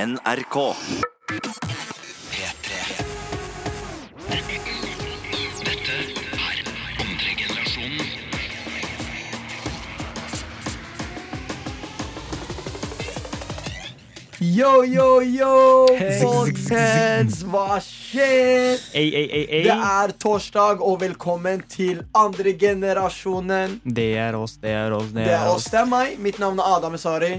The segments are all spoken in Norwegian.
NRK. Yo, yo, yo, folkens! Hva skjer? Ei, ei, ei, Det ei. er torsdag, og velkommen til andre generasjonen. Det er oss, det er oss, Det er oss, det er meg. Mitt navn er Adam Esari.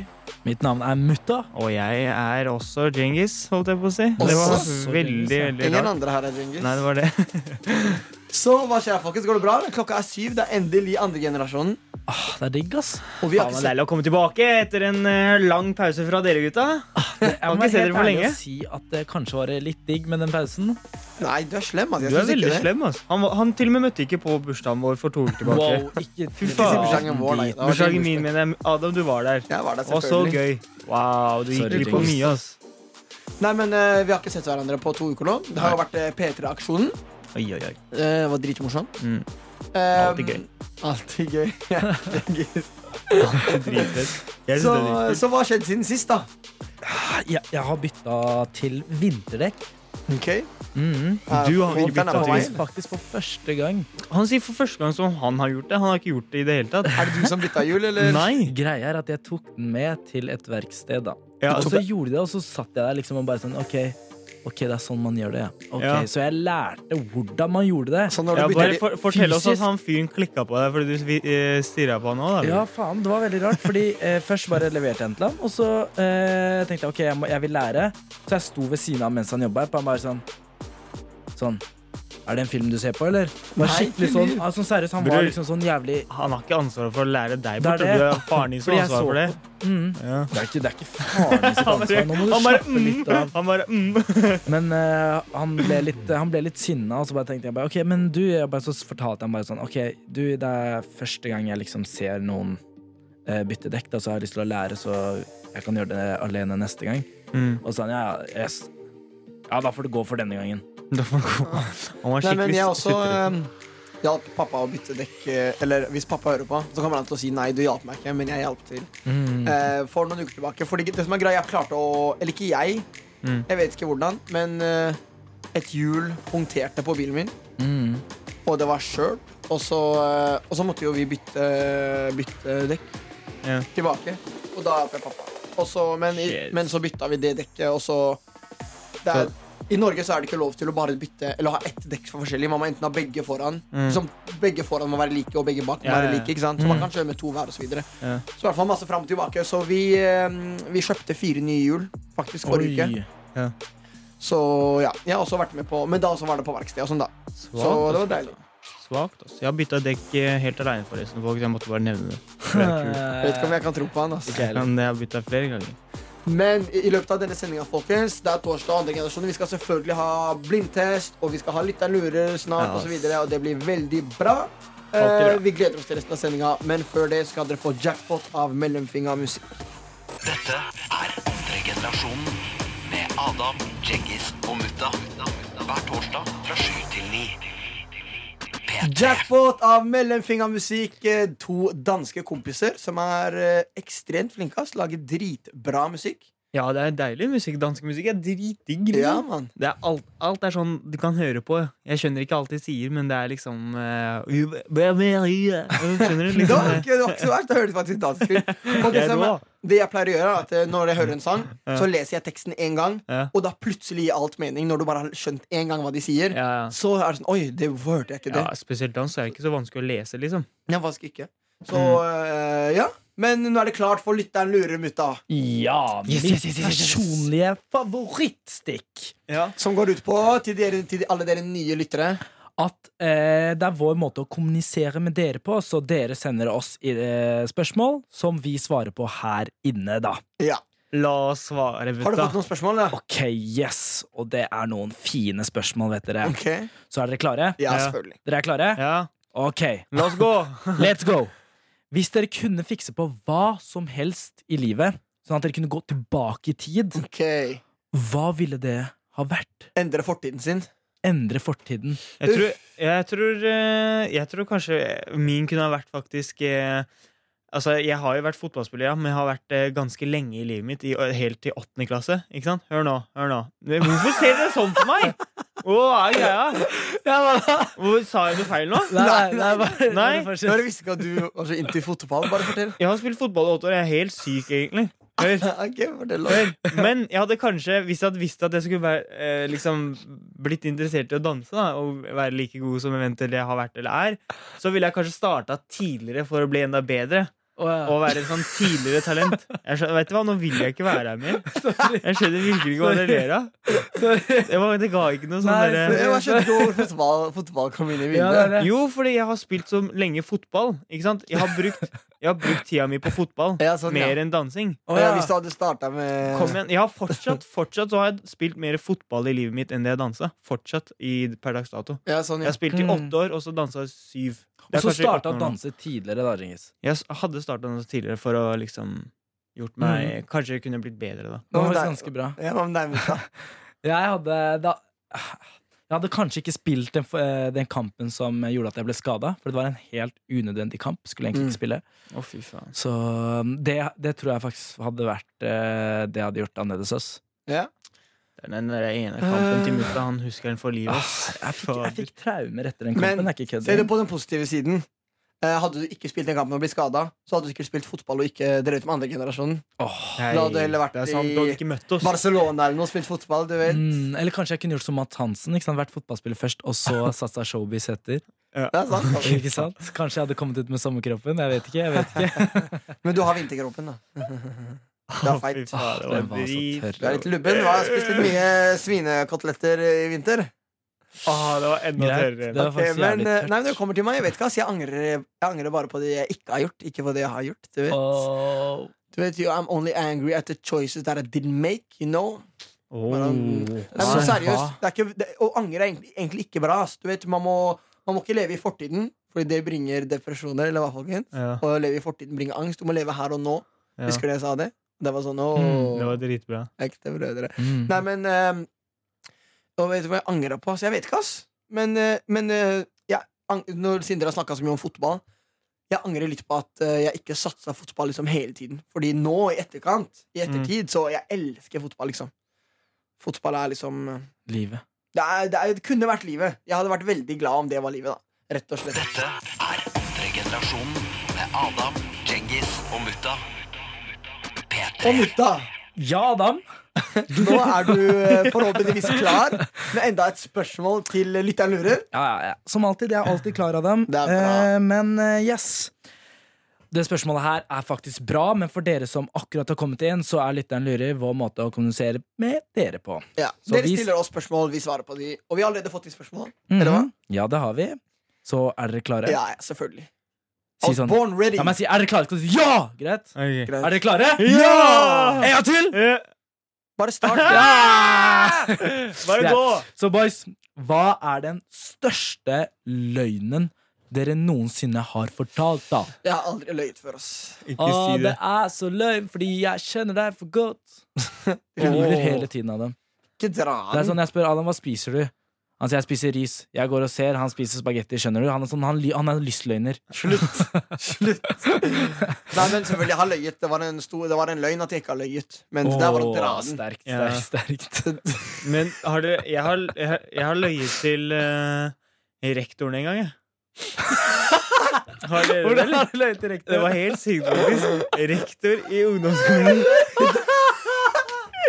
Mitt navn er Mutta. Og jeg er også Djengis, holdt jeg på å si. Det var Også veldig, veldig Ingen rart. andre her er Djengis. Nei, det var det. Så hva skjer, folkens? Går det bra? eller? Klokka er syv. Det er endelig andre generasjonen. Ah, Det er digg, ass. Og vi har Faen, det er ikke sett deilig å komme tilbake etter en eh, lang pause fra dere, gutta. Jeg ikke se dere for lenge. å si at det kanskje var litt digg med den pausen. Nei, du er slem. ass. Du er Jeg synes ikke veldig det. slem, altså. Han, var- han til og med møtte ikke på bursdagen vår for to uker tilbake. Wow, Fy ikke Ikke si faen. bursdagen vår, nei. Det var din Bursdagen bursdag. min, mener jeg. Adam, du var der. Jeg var der, Og så selvfølgelig. gøy. Wow, du gikk Sorry, glipp av Djengis. mye, ass. Nei, men eh, Vi har ikke sett hverandre på to uker nå. Det har jo vært eh, P3-aksjonen. Oi, oi, oi. Eh, det var dritmorsomt. Mm. Eh, Alltid gøy. Alltid gøy. Djengis. Dritfett. Jeg synes så, det er dritfett. så hva har skjedd siden sist, da? Ah, Jeg, jeg har bytta til vinterdekk. Ok, Mhm. Ja, Du har ikke vinteren bytta er på til vei. Faktisk, faktisk for første gang. Han sier for første gang som han har gjort det. Han har ikke gjort det i det hele tatt. Er det du som bytta hjul, eller? Nei. Greia er at jeg tok den med til et verksted, da. Ja, og altså, så gjorde de det, og så satt jeg der liksom og bare sånn OK, ok, det er sånn man gjør det, ja. Ok, Ja. Sånn Så jeg lærte hvordan man gjorde det. Så når Sånn du ja, bytter bare de- for, fortell oss at fysisk- han fyren klikka på deg fordi du uh, stirra på han òg, da. Ja, faen, det var veldig rart, fordi eh, først bare leverte jeg den til ham, og så eh, tenkte jeg ok, jeg, må, jeg vil lære. Så jeg sto ved siden av mens han jobba, og han bare sånn Sånn. Er det en film du ser på, eller? Det var Nei, skikkelig ikke sånn, altså, seriøst, Han Bror. var liksom sånn jævlig Han har ikke ansvaret for å lære deg Det er bort. Det det. er faren din som Fordi har jeg ansvaret så for det. mm. Ja. Det er ikke, det er ikke faren Han bare, sitt ansvar. Nå må du han bare, slappe litt av. mm, han bare mm. Men eh, han ble litt, han ble litt sinna, og så bare tenkte jeg bare OK, men du jeg bare, Så fortalte han bare sånn OK, du, det er første gang jeg liksom ser noen eh, bytte dekk, da, så har jeg lyst til å lære, så jeg kan gjøre det alene neste gang. Mm, Og så sa han ja, ja, yes. ja, da får det gå for denne gangen. Da får han gå. Han var Nei, men skikkelig jeg også sutrete. eh, hjalp pappa å bytte dekk. eh, Eller hvis pappa hører på, så kommer han til å si nei, du hjalp meg ikke, men jeg hjalp til. Mm. Eh, for noen uker tilbake. Fordi det som er greia, jeg klarte å Eller ikke jeg, Mm. jeg vet ikke hvordan, men eh, et hjul punkterte på bilen min, Mm. og det var skjørt. Og så, eh, og så måtte jo vi bytte, bytte dekk Ja. tilbake. Og da hjalp jeg pappa. Og så, men, i- Shit. men så bytta vi det dekket, og så det er, I Norge så er det ikke lov til å bare bytte Eller ha ett dekk for forskjellig. Man må enten ha begge foran. Mm. eh, Som begge foran må være like, og begge bak må Ja, ja, være ja. Mm. like. ikke sant? Så man kan kjøre med to hver, og så videre. Ja. Så i hvert fall masse fram og tilbake. Så vi, eh, vi kjøpte fire nye hjul faktisk forrige uke. Oi. Så ja, jeg har også vært med på Men da også var det på verksted og sånn, da. Så det var deilig. altså. Svakt, altså. Jeg har bytta dekk eh, helt aleine, forresten, folks. Jeg måtte bare nevne det. For det er kult. Jeg vet ikke om jeg kan tro på han. ass. Men jeg har bytta flere ganger. Men i i løpet av denne sendinga, folkens, det er torsdag andre generasjon. Vi skal selvfølgelig ha blindtest, og vi skal ha lytteren lurer snart, Ja. og så videre. Og det blir veldig bra. Alltid bra. Eh, vi gleder oss til resten av sendinga, men før det skal dere få jackpot av mellomfingermusikk. Dette er andre generasjonen med Adam, Djengis og Mutta. Hver torsdag fra 7 til 9. P3. Jackpot av mellomfingermusikk. Eh, To danske kompiser som er eh, ekstremt flinke. ass. Lager dritbra musikk. Ja, det er deilig musikk. Dansk musikk er dritdigg. liksom. Ja, mann. Det er alt, alt er sånn du kan høre på. Jeg skjønner ikke alt de sier, men det er liksom eh, Skjønner du? Det var Liksom, ikke, det var ikke så verst. Det hørtes faktisk dansk ut. Og det, Jeg er som, rå. det jeg pleier å gjøre, er at eh, når jeg hører en sang, Ja. så leser jeg teksten én gang, Ja. og da plutselig gir alt mening. Når du bare har skjønt én gang hva de sier, ja, så er det sånn Oi, det hørte jeg ikke ja, det. spesielt dans er det ikke så vanskelig å lese, liksom. Jeg faktisk ikke. Så Mm. eh, ja. Men nå er det klart for lytteren lurer mutta, Ja, mitt Yes, yes, yes, yes, yes. personlige favorittstikk. som går ut på til, dere, til alle dere nye lyttere. At eh, det er vår måte å kommunisere med dere på, så dere sender oss i, eh, spørsmål som vi svarer på her inne, da. Ja. La oss svare, Har du gutta. fått noen spørsmål? Da? Ok, yes! Og det er noen fine spørsmål, vet dere. Ok, Så er dere klare? Ja, Ja. selvfølgelig. Dere er klare? Ja, Ok, la oss gå. let's go! Hvis dere kunne fikse på hva som helst i livet, sånn at dere kunne gå tilbake i tid, Ok, hva ville det ha vært? Endre fortiden sin. Endre fortiden. Jeg tror, jeg tror, eh, jeg tror kanskje min kunne ha vært faktisk eh, Altså, Jeg har jo vært fotballspiller, ja, men jeg har vært eh, ganske lenge i livet mitt. I, helt til åttende klasse. Ikke sant? Hør nå. hør nå Men Hvorfor ser dere sånn på meg?! Hva er greia? Hvor Sa jeg noe feil nå? Nei, nei, bare- Nei. bare fortsett. Jeg bare visste ikke at du var så inntil fotball. Bare fortell. Jeg har spilt fotball i åtte år. Jeg er helt syk, egentlig. Hør. Ok, fortell Hør. Men jeg hadde kanskje, hvis jeg hadde visst at jeg skulle være, eh, liksom, blitt interessert i å danse, da, og være like god som eventuelt jeg har vært eller er, så ville jeg kanskje starta tidligere for å bli enda bedre. Å, Og være et sånn tidligere talent. Jeg skjønner, vet du hva, Nå vil jeg ikke være her mer. Jeg skjønner virkelig ikke hva dere ler av. Det, var- det ga ikke noe Nei, sånn derre Jeg bare skjønte ikke hvor fotball, fotball kom inn i ja, det er bildet. det. Jo, fordi jeg har spilt så lenge fotball. Ikke sant? Jeg har brukt, jeg har brukt tida mi på fotball Ja, sånn, ja. mer enn dansing. Å, ja. ja. Hvis du hadde starta med Kom igjen. Jeg har fortsatt, fortsatt så har jeg spilt mer fotball i livet mitt enn det jeg dansa. Fortsatt i per dags dato. Ja, sånn, Jeg ja. har spilt i Mm. åtte år, og så dansa jeg syv. Det er Og så kanskje starta 18 å år nå. danse tidligere, da, Ringis. Jeg s- hadde starta danse tidligere for å liksom gjort meg Kanskje jeg kunne blitt bedre da. Det Hva var med faktisk deg? ganske bra. Ja, hva med deg, Musa? Jeg hadde da Jeg hadde kanskje ikke spilt den, eh, den kampen som gjorde at jeg ble skada, for det var en helt unødvendig kamp. Skulle egentlig ikke spille. Å, fy faen. Så um, det, det tror jeg faktisk hadde vært eh, det jeg hadde gjort annerledes. Ass. Ja. Det er Den der ene kampen til mutta, han husker den for livet. ass. Jeg fikk, jeg fikk traumer etter den Men, kampen. det er ikke kødd. Se det på den positive siden. Eh, Hadde du ikke spilt den kampen og blitt skada, så hadde du sikkert spilt fotball og ikke drevet med andre generasjonen. Åh. Nei, Da hadde du heller vært det er sant, i- du hadde ikke møtt oss. Barcelona eller noe, spilt fotball, du vet. Mm, eller kanskje jeg kunne gjort som Matt Hansen. Ikke sant? Vært fotballspiller først, og så satsa showbiz etter. Det er sant, altså. Ikke sant? Kanskje jeg hadde kommet ut med sommerkroppen. Jeg vet ikke. Jeg vet ikke. Men du har vinterkroppen, da. Det er Å, fy feit. faen, det var Den var så drit. tørr. Du er litt lubben. Du har spist litt mye svinekoteletter i vinter. Å, Ah, det var enda Greit. tørrere. Det var Eh, faktisk Men jævlig eh, tørt. nei, men det kommer til meg. Jeg vet ikke, ass. Jeg angrer, jeg angrer bare på det jeg ikke har gjort. Ikke på det jeg har gjort. Du vet, Åh. du vet jo, I'm only angry at the choices that I didn't make. You know? Åh. Nei, men Hva? seriøst. Det er ikke, det, å angre er egentlig, egentlig ikke bra. Ass. Du vet, man må, man må ikke leve i fortiden, Fordi det bringer depresjoner. Eller hva, folkens? Ja, Å leve i fortiden bringer angst. Du må leve her og nå. ja. Husker du jeg sa det? Det var sånn Mm, åh, Det var dritbra. ekte brødre. Mm. Nei, men ehm, Og vet du hva jeg angrer på? Så jeg vet ikke, ass. Men, eh, men eh, jeg, ang- når Sindre har snakka så mye om fotball Jeg angrer litt på at eh, jeg ikke satsa fotball liksom hele tiden. Fordi nå, i etterkant, i ettertid, så jeg elsker fotball, liksom. Fotball er liksom eh, Livet. det, er, det, er, det kunne vært livet. Jeg hadde vært veldig glad om det var livet, da. Rett og slett. Dette er andre generasjonen med Adam, Djengis og Mutta. P3. Og mutta! Ja, Adam. Nå er du eh, forhåpentligvis klar med enda et spørsmål til lytteren lurer. Ja, ja, ja. Som alltid. Jeg er alltid klar av dem. Det er bra. Eh, men eh, yes. Det spørsmålet her er faktisk bra, men for dere som akkurat har kommet inn, så er lytteren lurer vår måte å kommunisere med dere på. Ja. Så Dere vi- stiller oss spørsmål, vi svarer på de. Og vi har allerede fått de spørsmål. Mhm. Eller hva? Ja, det har vi. Så er dere klare? Ja, ja, selvfølgelig. I Si was sånn. born ready. Ja, men si, er dere klare? Skal du si ja! Greit. Ok. Greit. Er dere klare? Ja! En gang til! Eh, Bare start. Bare Greit. gå! Så boys, hva er den største løgnen dere noensinne har fortalt, da? Jeg har aldri løyet før, ass. Ikke Å, Ah, det er så løgn, fordi jeg kjenner deg for godt. Jeg lyver hele tiden av dem. Ikke dra Det er den. sånn jeg spør Adam hva spiser du? Han sier jeg spiser ris. Jeg går og ser, han spiser spagetti. Skjønner du? Han er, sånn, han, ly- han er lystløgner. Slutt. Slutt. Nei, men selvfølgelig, jeg har løyet. Det var en, stor, det var en løgn at jeg ikke har løyet. Men det der var å dra Åh, den. Sterkt, Ja. sterkt, sterkt. Men har dere Jeg har, jeg har- jeg har løyet til eh, rektoren en gang, jeg. Har dere det? Hvordan eller? har du løyet direkte? Det var helt sykt, faktisk. Rektor i ungdomsskolen.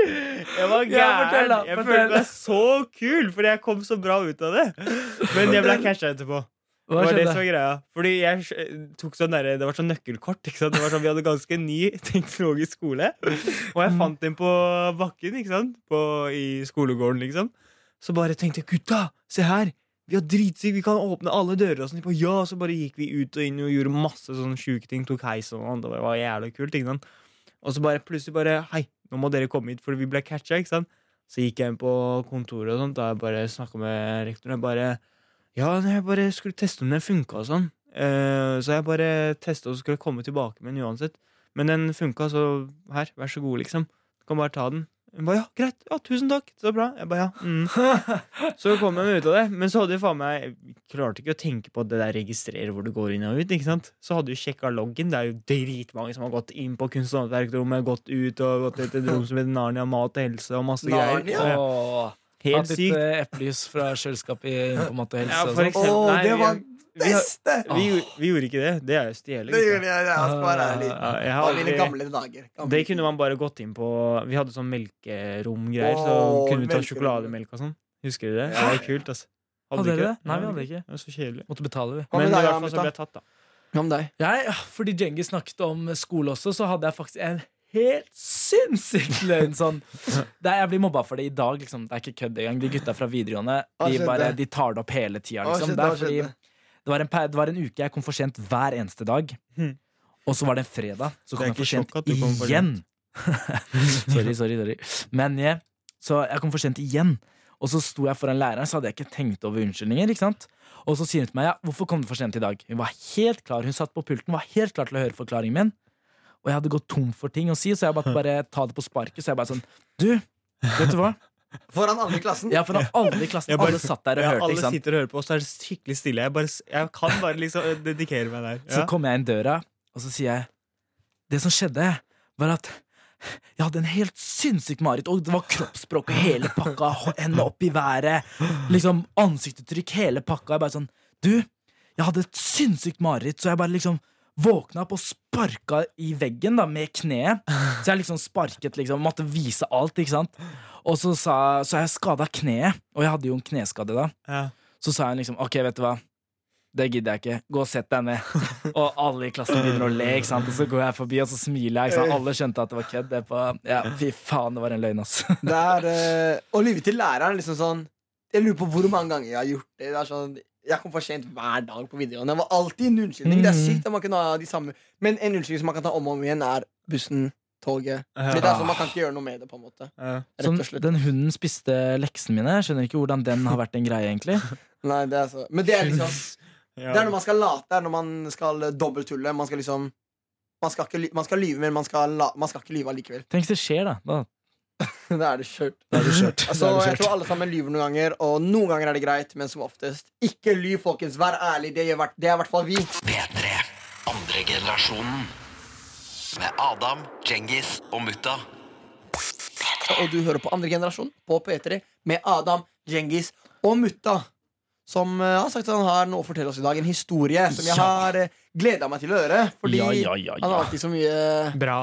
Jeg var Ja, fortell gæren. da, Jeg fortell. følte meg så kul, fordi jeg kom så bra ut av det. Men jeg ble casha etterpå. Det Hva var det som skjedde? var greia. Fordi jeg sj- tok sånn derre- Det var sånn nøkkelkort. Ikke sant? Det var sånn, vi hadde ganske ny teknologisk skole. Og jeg fant den på bakken ikke sant? På, i skolegården, liksom. Så bare tenkte jeg gutta, se her! Vi har dritsykt, vi kan åpne alle dører. Og sånn, Tipo, ja, så bare gikk vi ut og inn og gjorde masse sånne sjuke ting. Tok heis og sånn. Det var- var jævlig kult. ikke sant? Og så bare plutselig bare Hei, nå må dere komme hit, for vi ble catcha. ikke sant? Så gikk jeg inn på kontoret og sånt, da jeg bare snakka med rektoren. Jeg bare ja, nei, jeg bare skulle teste om den funka og sånn. Eh, så jeg bare testa og så altså, skulle jeg komme tilbake med den uansett. Men den funka, så her, vær så god, liksom. Du kan bare ta den. Hun ba, ja, greit, ja, tusen takk, så bra Jeg ba, ja mm. Så kom jeg meg ut av det Men så hadde jeg faen meg jeg Klarte ikke å tenke på at det der registrerer hvor du går inn og ut Ikke sant? Så hadde du sjekket loggen Det er jo dritmange som har gått inn på kunst- og håndverkrommet Gått ut og gått til et rom som heter Narnia Mat og helse og masse Narnia? greier Åh, Helt Hatt litt sykt eh, eplejus fra kjøleskapet i på en måte helse. Ja, og sånn. for sånt. Å, eksempel- Nei, det vi- var vi har- beste! vi, gjorde- vi gjorde ikke det, det er jo liksom. stjele Det gutta. gjorde jeg. Jeg skal være ærlig. Ja, jeg har Av mine aldri- gamle dager. Gamle. Det kunne man bare gått inn på Vi hadde sånn melkeromgreier, så Åh, kunne vi ta melkerom. sjokolademelk og sånn. Husker du det? Det var kult, altså. Hadde dere det? Nei, vi hadde ikke. ikke. Det var så kjedelig. Måtte betale, vi. Hva Men med i deg, hvert fall så ble Amundsen? jeg tatt, da. Hva med deg? Jeg, ah, fordi Djengis snakket om skole også, så hadde jeg faktisk en helt sinnssyk løgn. Sånn. Det er, jeg blir mobba for det i dag. Liksom. Det er ikke kødd engang. De gutta fra videregående Hva de skjedde? bare, de tar det opp hele tida. Hva Liksom. skjedde? Det, er Hva fordi skjedde? det, var en, per- det var en uke jeg kom for sent hver eneste dag. Hmm. Og så var det en fredag, Det så er kom jeg ikke for sent sjokk at du kom for igjen. sorry, sorry, sorry. Men jeg, så jeg kom for sent igjen. Og så sto jeg foran læreren, så hadde jeg ikke tenkt over unnskyldninger. ikke sant? Og så sier hun til meg ja, hvorfor kom du for sent i dag. Hun var helt klar, hun satt på pulten, var helt klar til å høre forklaringen min. Og jeg hadde gått tom for ting å si, så jeg bare, bare ta det på sparket. Så jeg bare sånn Du, vet du hva? Foran alle i klassen? Jeg foran alle i klassen, Jeg bare- alle satt der og Ja, hørte. alle ikke sant? sitter og hører på, og så er det skikkelig stille. Jeg, bare, s- jeg kan bare liksom eh, dedikere meg der. Så Ja. kommer jeg inn døra, og så sier jeg Det som skjedde, var at jeg hadde en helt sinnssyk mareritt, og det var kroppsspråk og hele pakka, hå- hendene opp i været, liksom ansiktsuttrykk, hele pakka. Jeg bare sånn Du, jeg hadde et sinnssykt mareritt, så jeg bare liksom våkna opp og sparka i veggen da, med kneet. Så jeg liksom sparket, liksom, måtte vise alt, ikke sant. Og så sa Så jeg skada kneet, og jeg hadde jo en kneskade da. Ja. Så sa hun liksom Ok, vet du hva Det gidder jeg ikke Gå og sett deg ned Og alle i klassen begynner å le ikke sant? Og så går jeg forbi Og så smiler jeg ikke sant? Alle skjønte at det var kødd det på, Ja, fy faen Det var en løgn ass Det er eh, Å lyve til læreren liksom sånn Jeg lurer på hvor mange ganger jeg har gjort det. det er sånn, jeg kom for sent hver dag på videregående. Det var alltid en unnskyldning. Det er sykt at man kan ha de samme Men en unnskyldning som man kan ta om og om igjen, er bussen, toget. Men det er sånn, Man kan ikke gjøre noe med det, på en måte. Ja. Rett Sånn, og slett. Den hunden spiste leksene mine Jeg skjønner ikke hvordan den har vært en greie egentlig Nei, det er så. Men det er liksom Ja. Det er når man skal late, det er når man skal eh, dobbelttulle. Man skal liksom man skal, ikke, ly- man skal lyve, men man skal, la, man skal ikke lyve allikevel. Tenk hvis det skjer da Da, Da er det skjørt. da er du kjørt Da Altså, er du jeg kjørt. tror alle sammen lyver noen ganger, og noen ganger er det greit, men som oftest ikke lyv, folkens. Vær ærlig. Det, gjør, hvert- det er i hvert fall vi. P3. Andre generasjonen. Med Adam, Djengis og Mutta. Og du hører på andre generasjon på P3 med Adam, Djengis og Mutta. Som eh, har sagt at han har noe å fortelle oss i dag. En historie som jeg Ja. har uh, gleda meg til å høre. Fordi Ja, ja, ja, han har ja alltid så mye Bra.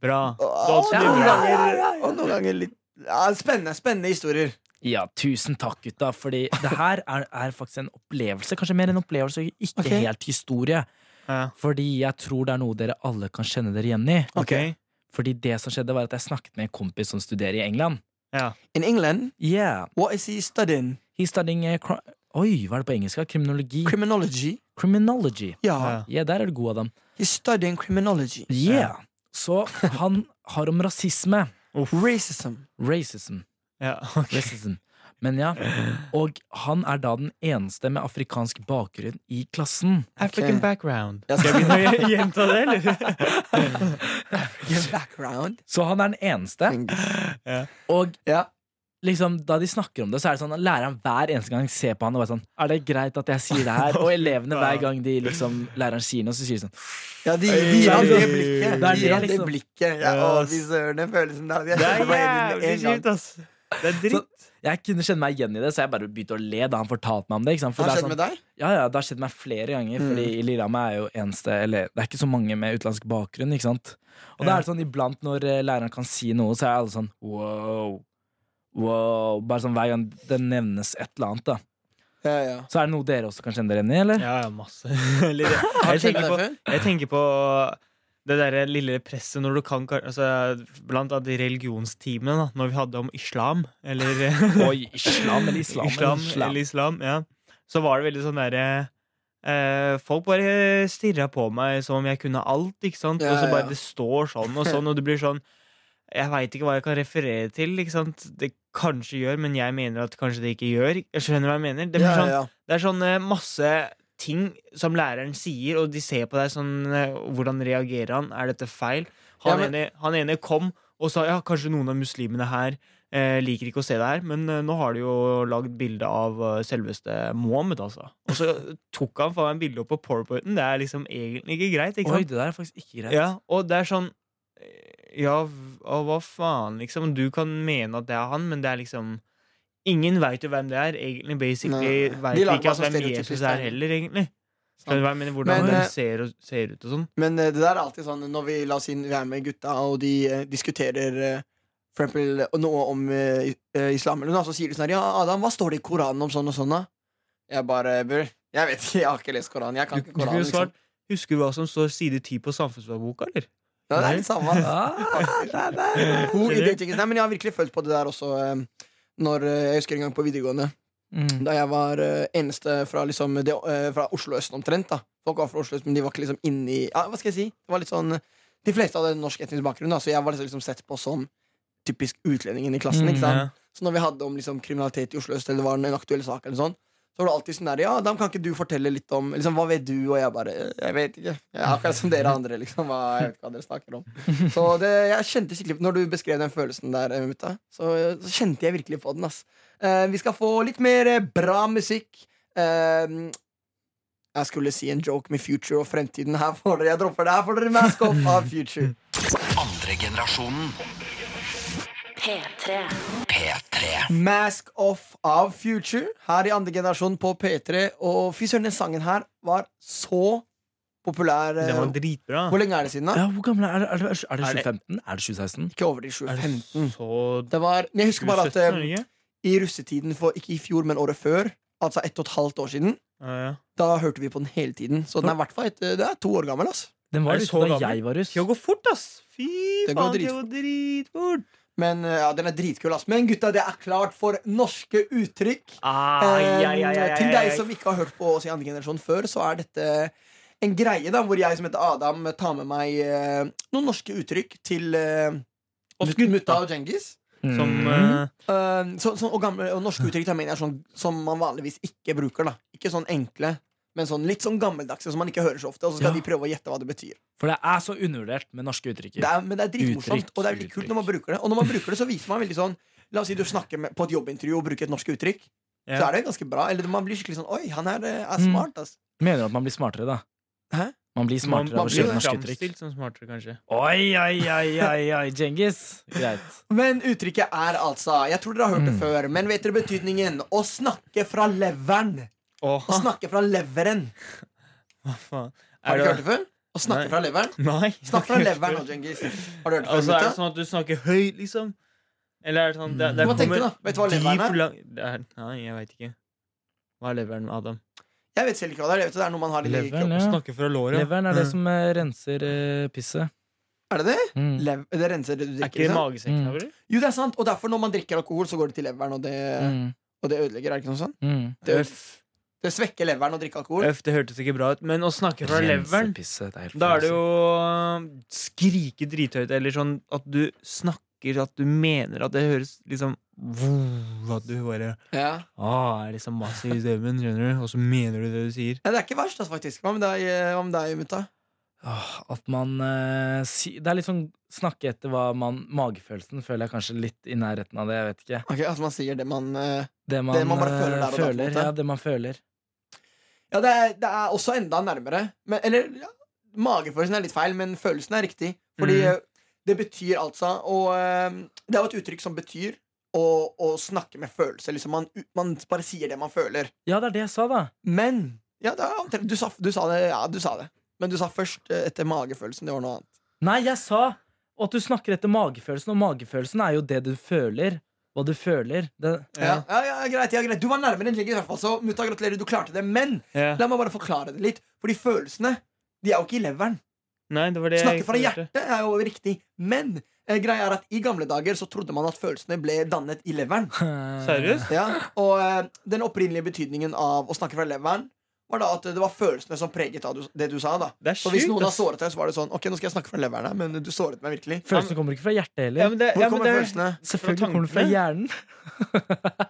Bra. Det var og, også mye noen bra. ganger, og noen ganger litt ja, Spennende spennende historier. Ja, tusen takk gutta Fordi det her er, er faktisk en opplevelse Kanskje mer en opplevelse Ikke Ok. helt historie Ja. Fordi jeg tror det er noe dere alle kan kjenne dere igjen i Ok. Fordi det som skjedde var at jeg snakket med en kompis som studerer i England. Ja. In England, Yeah, what is he studying? he's studying eh, cri Oi, hva er det på engelsk? da? Kriminologi? Criminology? Criminology. Ja. Yeah, der er du god, Adam. He's studying criminology. Yeah. Så han har om rasisme. Racism. Racism. Ja. ok. Racism. Men ja, og han er da den eneste med afrikansk bakgrunn i klassen. African background. Ja, Skal jeg begynne å gjenta det, eller? Background. Så han er den eneste. Og Ja. liksom, da de snakker om det, så er det sånn at læreren hver eneste gang ser på han og bare sånn Er det greit at jeg sier det her? Og elevene hver gang de liksom læreren sier noe, så sier de sånn Ja, de de gir ham det Oi. blikket. Det De er det, gir ham det liksom. blikket ja, Ja, Å, ass. fy søren, den følelsen der. Jeg Det kjente er det på hele jævlig min med en kjipt, gang. ass. Det er dritt. Jeg kunne kjenne meg igjen i det, så jeg bare begynte å le da han fortalte meg om det. Ikke sant? For Har det det er skjedd sånn, med deg? ja, ja, det har skjedd meg flere ganger, Fordi i Lillehammer er jo eneste Eller det er ikke så mange med utenlandsk bakgrunn, ikke sant? Og da er det sånn iblant når eh, læreren kan si noe, så er alle sånn wow. Wow. Bare sånn hver gang det nevnes et eller annet, da. Ja, ja. Så er det noe dere også kan kjenne dere igjen i, eller? Ja, ja, masse. Eller, jeg, skjedd tenker med deg på, før? jeg tenker på det derre lille presset når du kan altså, Blant annet i religionstimene, da, når vi hadde om islam, eller Oi, islam eller islam? eller islam, eller islam ja. så var det veldig sånn derre eh, folk bare stirra på meg som om jeg kunne alt, ikke sant? Ja, og så ja. bare det står sånn og sånn, og det blir sånn Jeg veit ikke hva jeg kan referere til, ikke sant? Det kanskje gjør, men jeg mener at kanskje det ikke gjør. Jeg skjønner hva jeg mener. Det blir Ja, sånn ja. det er sånn eh, masse ting som læreren sier, og de ser på deg sånn eh, Hvordan reagerer han? Er dette feil? Han, Ja, men- ene, han ene kom og sa ja, kanskje noen av muslimene her eh, liker ikke å se det her, men eh, nå har de jo lagd bilde av eh, selveste Mohammed, altså. Og så tok han faen meg bilde opp på powerpointen. Det er liksom egentlig ikke greit. ikke Oi, sant? det der er faktisk ikke greit. Ja, og det er sånn eh, Ja, v- og hva faen, liksom? Du kan mene at det er han, men det er liksom Ingen veit jo hvem det er. Egentlig basically Nei. veit De lager ikke at masse hvem stereotypisk Jesus der. er heller, egentlig. Skjønner du Sant. hva jeg mener? Hvordan Men, de eh, ser, og, ser ut og sånn. Men eh, det der er alltid sånn når vi, la oss si, vi er med gutta, og de eh, diskuterer eh, for eksempel eh, noe om eh, i- eh, islam, eller noe, så sier de sånn her Ja, Adam, hva står det i Koranen om sånn og sånn, da? Jeg bare Bror, jeg vet ikke, jeg har ikke lest Koranen. Jeg Du, kan du ikke kunne Koranen, jo svart liksom. Husker du hva som står side 10 på samfunnsfagboka, eller? Ja, det er det samme. ass. Ah, Hun identitet- Nei, men jeg har virkelig følt på det der også. eh, Når, eh, jeg husker en gang på videregående, Mm. da jeg var eh, eneste fra, liksom, det, eh, fra Oslo øst omtrent. da Folk var fra Oslo øst, men de var ikke liksom inni ja, Hva skal jeg si? Det var litt sånn De fleste hadde norsk etnisk bakgrunn, da, så jeg var liksom sett på som typisk utlendingen i klassen. Mm, ikke sant? Så når vi hadde om liksom, kriminalitet i Oslo øst, eller det var en aktuell sak, eller sånn så var det alltid sånn der, ja, da kan ikke du fortelle litt om liksom, Hva vet du? Og jeg bare «Eh, Jeg vet ikke. Jeg er akkurat som dere andre. liksom hva, Jeg vet ikke hva dere snakker om Så det, jeg kjente skikkelig Når du beskrev den følelsen der, eh, mutta, så, så kjente jeg virkelig på den. ass Eh, Vi skal få litt mer eh, bra musikk. Eh, jeg skulle si en joke med Future og fremtiden. Her får dere, jeg dropper det. Her får dere Mask Off av Future. Andre generasjonen. P3. P3. Mask Off av Future her i andre generasjon på P3. Og fy søren, den sangen her var så populær. eh, Den var dritbra. Hvor lenge er det siden, da? Ja, hvor gammel er det? Er det, er det Er det- 2015? Er det 2016? Ikke over i Er det 2015. så Det var, men jeg husker bare at 2017, er eh, det ikke? i russetiden, for, ikke i fjor, men året før, altså ett og et halvt år siden, Ja, ja. da hørte vi på den hele tiden. Så den er i hvert fall et- det er to år gammel. altså Den Er var det ute så da gammel? jeg var russ. Tida går fort, ass! Fy Det faen, går det går dritfort! Men eh, ja, den er dritkul, ass. Men gutta, det er klart for norske uttrykk. Ai, ai, ai, ai, Eh, ai, Til ai, deg ai. som ikke har hørt på oss i andre generasjon før, så er dette en greie da, hvor jeg som heter Adam tar med meg eh, noen norske uttrykk til eh, Oss Mut- gutta. Mutta og Djengis. Som Mm. eh, Eh, så, så, og, gamle, og norske uttrykk da mener jeg sånn som man vanligvis ikke bruker. da Ikke sånn enkle, men sånn litt sånn gammeldagse som man ikke hører så ofte. Og så skal de Ja. prøve å gjette hva det betyr. For det er så undervurdert med norske uttrykk. Det er, men det er dritmorsomt, Uttrykk, og det er veldig kult når man bruker det. Og når man bruker det, så viser man veldig sånn La oss si du snakker med, på et jobbintervju og bruker et norsk uttrykk. Ja. Så er det ganske bra. Eller man blir skikkelig sånn Oi, han her eh, er Mm. smart, ass. Mener du at man blir smartere, da? Hæ? Man blir man, smartere man av å blir kjøre jo norske uttrykk. framstilt som smartere, kanskje. Oi, oi, oi, oi, oi, Djengis. Greit. Men uttrykket er altså Jeg tror dere har hørt det Mm. før, men vet dere betydningen? Å snakke fra leveren. Åh, Å snakke fra leveren. hva faen. Har Ah. Er dere ikke det- hørt det før? Å Nei. snakke fra leveren? Nei. Snakk fra leveren nå, Djengis. Har du hørt det Altså, før? er det Mutta? sånn at du snakker høyt, liksom? Eller er det sånn det, det Hva tenker du, kommer da? Vet du hva dyp leveren er? lang- det er? Nei, jeg veit ikke. Hva er leveren, Adam? Jeg vet selv ikke hva det er. Jeg vet det er noe man har i Leveren, kroppen. ja. Snakker fra låret. Leveren er det Mm. som eh, renser eh, pisset. Er det det? Mm. Lev det renser det du Er drikker? ikke det Liksom? magesekken? Mm. eller? Jo, det er sant. Og derfor, når man drikker alkohol, så går det til leveren, og det, Mm. og det ødelegger. Er det ikke noe sånn? Mm. Det, Øff, det svekker leveren å drikke alkohol. øff, det hørtes ikke bra ut. Men å snakke fra Renser leveren pisset, det er helt Da er det jo øh, skrike drithøyt, eller sånn at du snakker at du mener at det høres liksom vroom, At du bare Ja. ah, er liksom massiv i stemmen, skjønner du? Og så mener du det du sier. Nei, det er ikke verst, altså, faktisk. Hva med deg, eh, hva med deg mutta? Åh, At man eh, si, Det er litt sånn snakke etter hva man Magefølelsen føler jeg kanskje litt i nærheten av det, jeg vet ikke. Ok, altså man sier det man eh, Det man, Det man bare eh, føler der og da, på en måte. føler. Ja, det man føler. Ja, det er, det er også enda nærmere. Men, eller ja, magefølelsen er litt feil, men følelsen er riktig. Fordi Mhm. eh, det betyr altså Og eh, det er jo et uttrykk som betyr å, å snakke med følelser. Liksom man, man bare sier det man føler. Ja, det er det jeg sa, da. Men ja, det er omtrent, du, sa, du sa det. Ja, du sa det. Men du sa først eh, etter magefølelsen. Det var noe annet. Nei, jeg sa at du snakker etter magefølelsen, og magefølelsen er jo det du føler. Hva du føler. Det, Ja, ja, ja, greit, ja, greit. Du var nærmere enn Jenkins, i hvert fall, så mutta, gratulerer, du klarte det. Men Ja. la meg bare forklare det litt. Fordi følelsene de er jo ikke i leveren. Nei, det var det Snakke fra hørte. hjertet er jo riktig, men eh, greia er at i gamle dager så trodde man at følelsene ble dannet i leveren. Eh, Seriøst? Ja, og eh, den opprinnelige betydningen av å snakke fra leveren var da at det var følelsene som preget av du, det du sa. da Det er Så hvis sjukt. noen har ass. såret deg, så var det sånn Ok, nå skal jeg snakke fra leveren her, men du såret meg virkelig. Følelsen kommer ikke fra Ja, hjertet heller. men det, Hvor ja, men kommer det, følelsene? Selvfølgelig kommer den fra tankene. hjernen.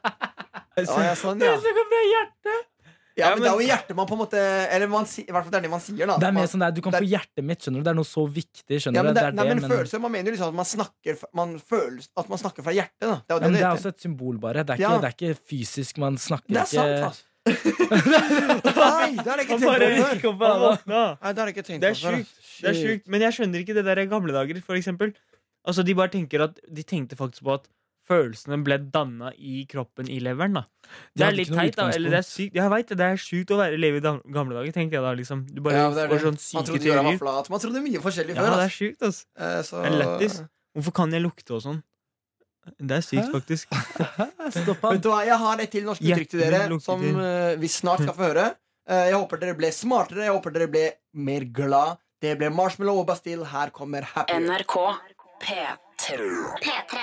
Ja, ja, sånn, ja. Følelsen kommer fra hjertet! Ja, Ja, men, men- det er jo hjertet man på en måte Eller man, si- i hvert fall det er det man sier, da. Det er mer Man- sånn der, Du kan det få er- hjertet mitt, skjønner du. Det er noe så viktig. skjønner ja, men du det, nei, men men- følelser, Man mener jo liksom at man snakker, f- man føles, at man snakker fra hjertet. Da. Det er jo Ja, det men det det er heter. også et symbol, bare. Det er ikke, Ja. det er ikke fysisk. Man snakker Det er ikke sant, altså. Nei, det har jeg ikke Han tenkt bare på før. gikk opp av våkna. Nei, det har jeg ikke tenkt Det er på før, sjukt. ass. Det er Shit. sjukt, men jeg skjønner ikke det der i gamle dager, for eksempel. Altså, de bare tenker at De tenkte faktisk på at følelsene ble danna i kroppen, i leveren, da. Det hadde er litt ikke noe teit, da. Eller det er sykt. Jeg vet det, det er sjukt å være leve i dam- gamle dager, tenkte jeg da, liksom. Du bare Ja, det er får det. sånn Man syke trodde jorda var teorier. flat. Man trodde mye forskjellig Ja, før. det er ass. sjukt, altså. Eh, så- Det er lættis. Hvorfor kan jeg lukte og sånn? Det er sykt, faktisk. Stopp Vet han. du hva, Jeg har et til norsk uttrykk til Hjertet dere lukter som til. eh, vi snart skal få høre. Eh, jeg håper dere ble smartere, jeg håper dere ble mer glad. Det ble Marshmallow og Bastille. Her kommer Happier. NRK P3. P3.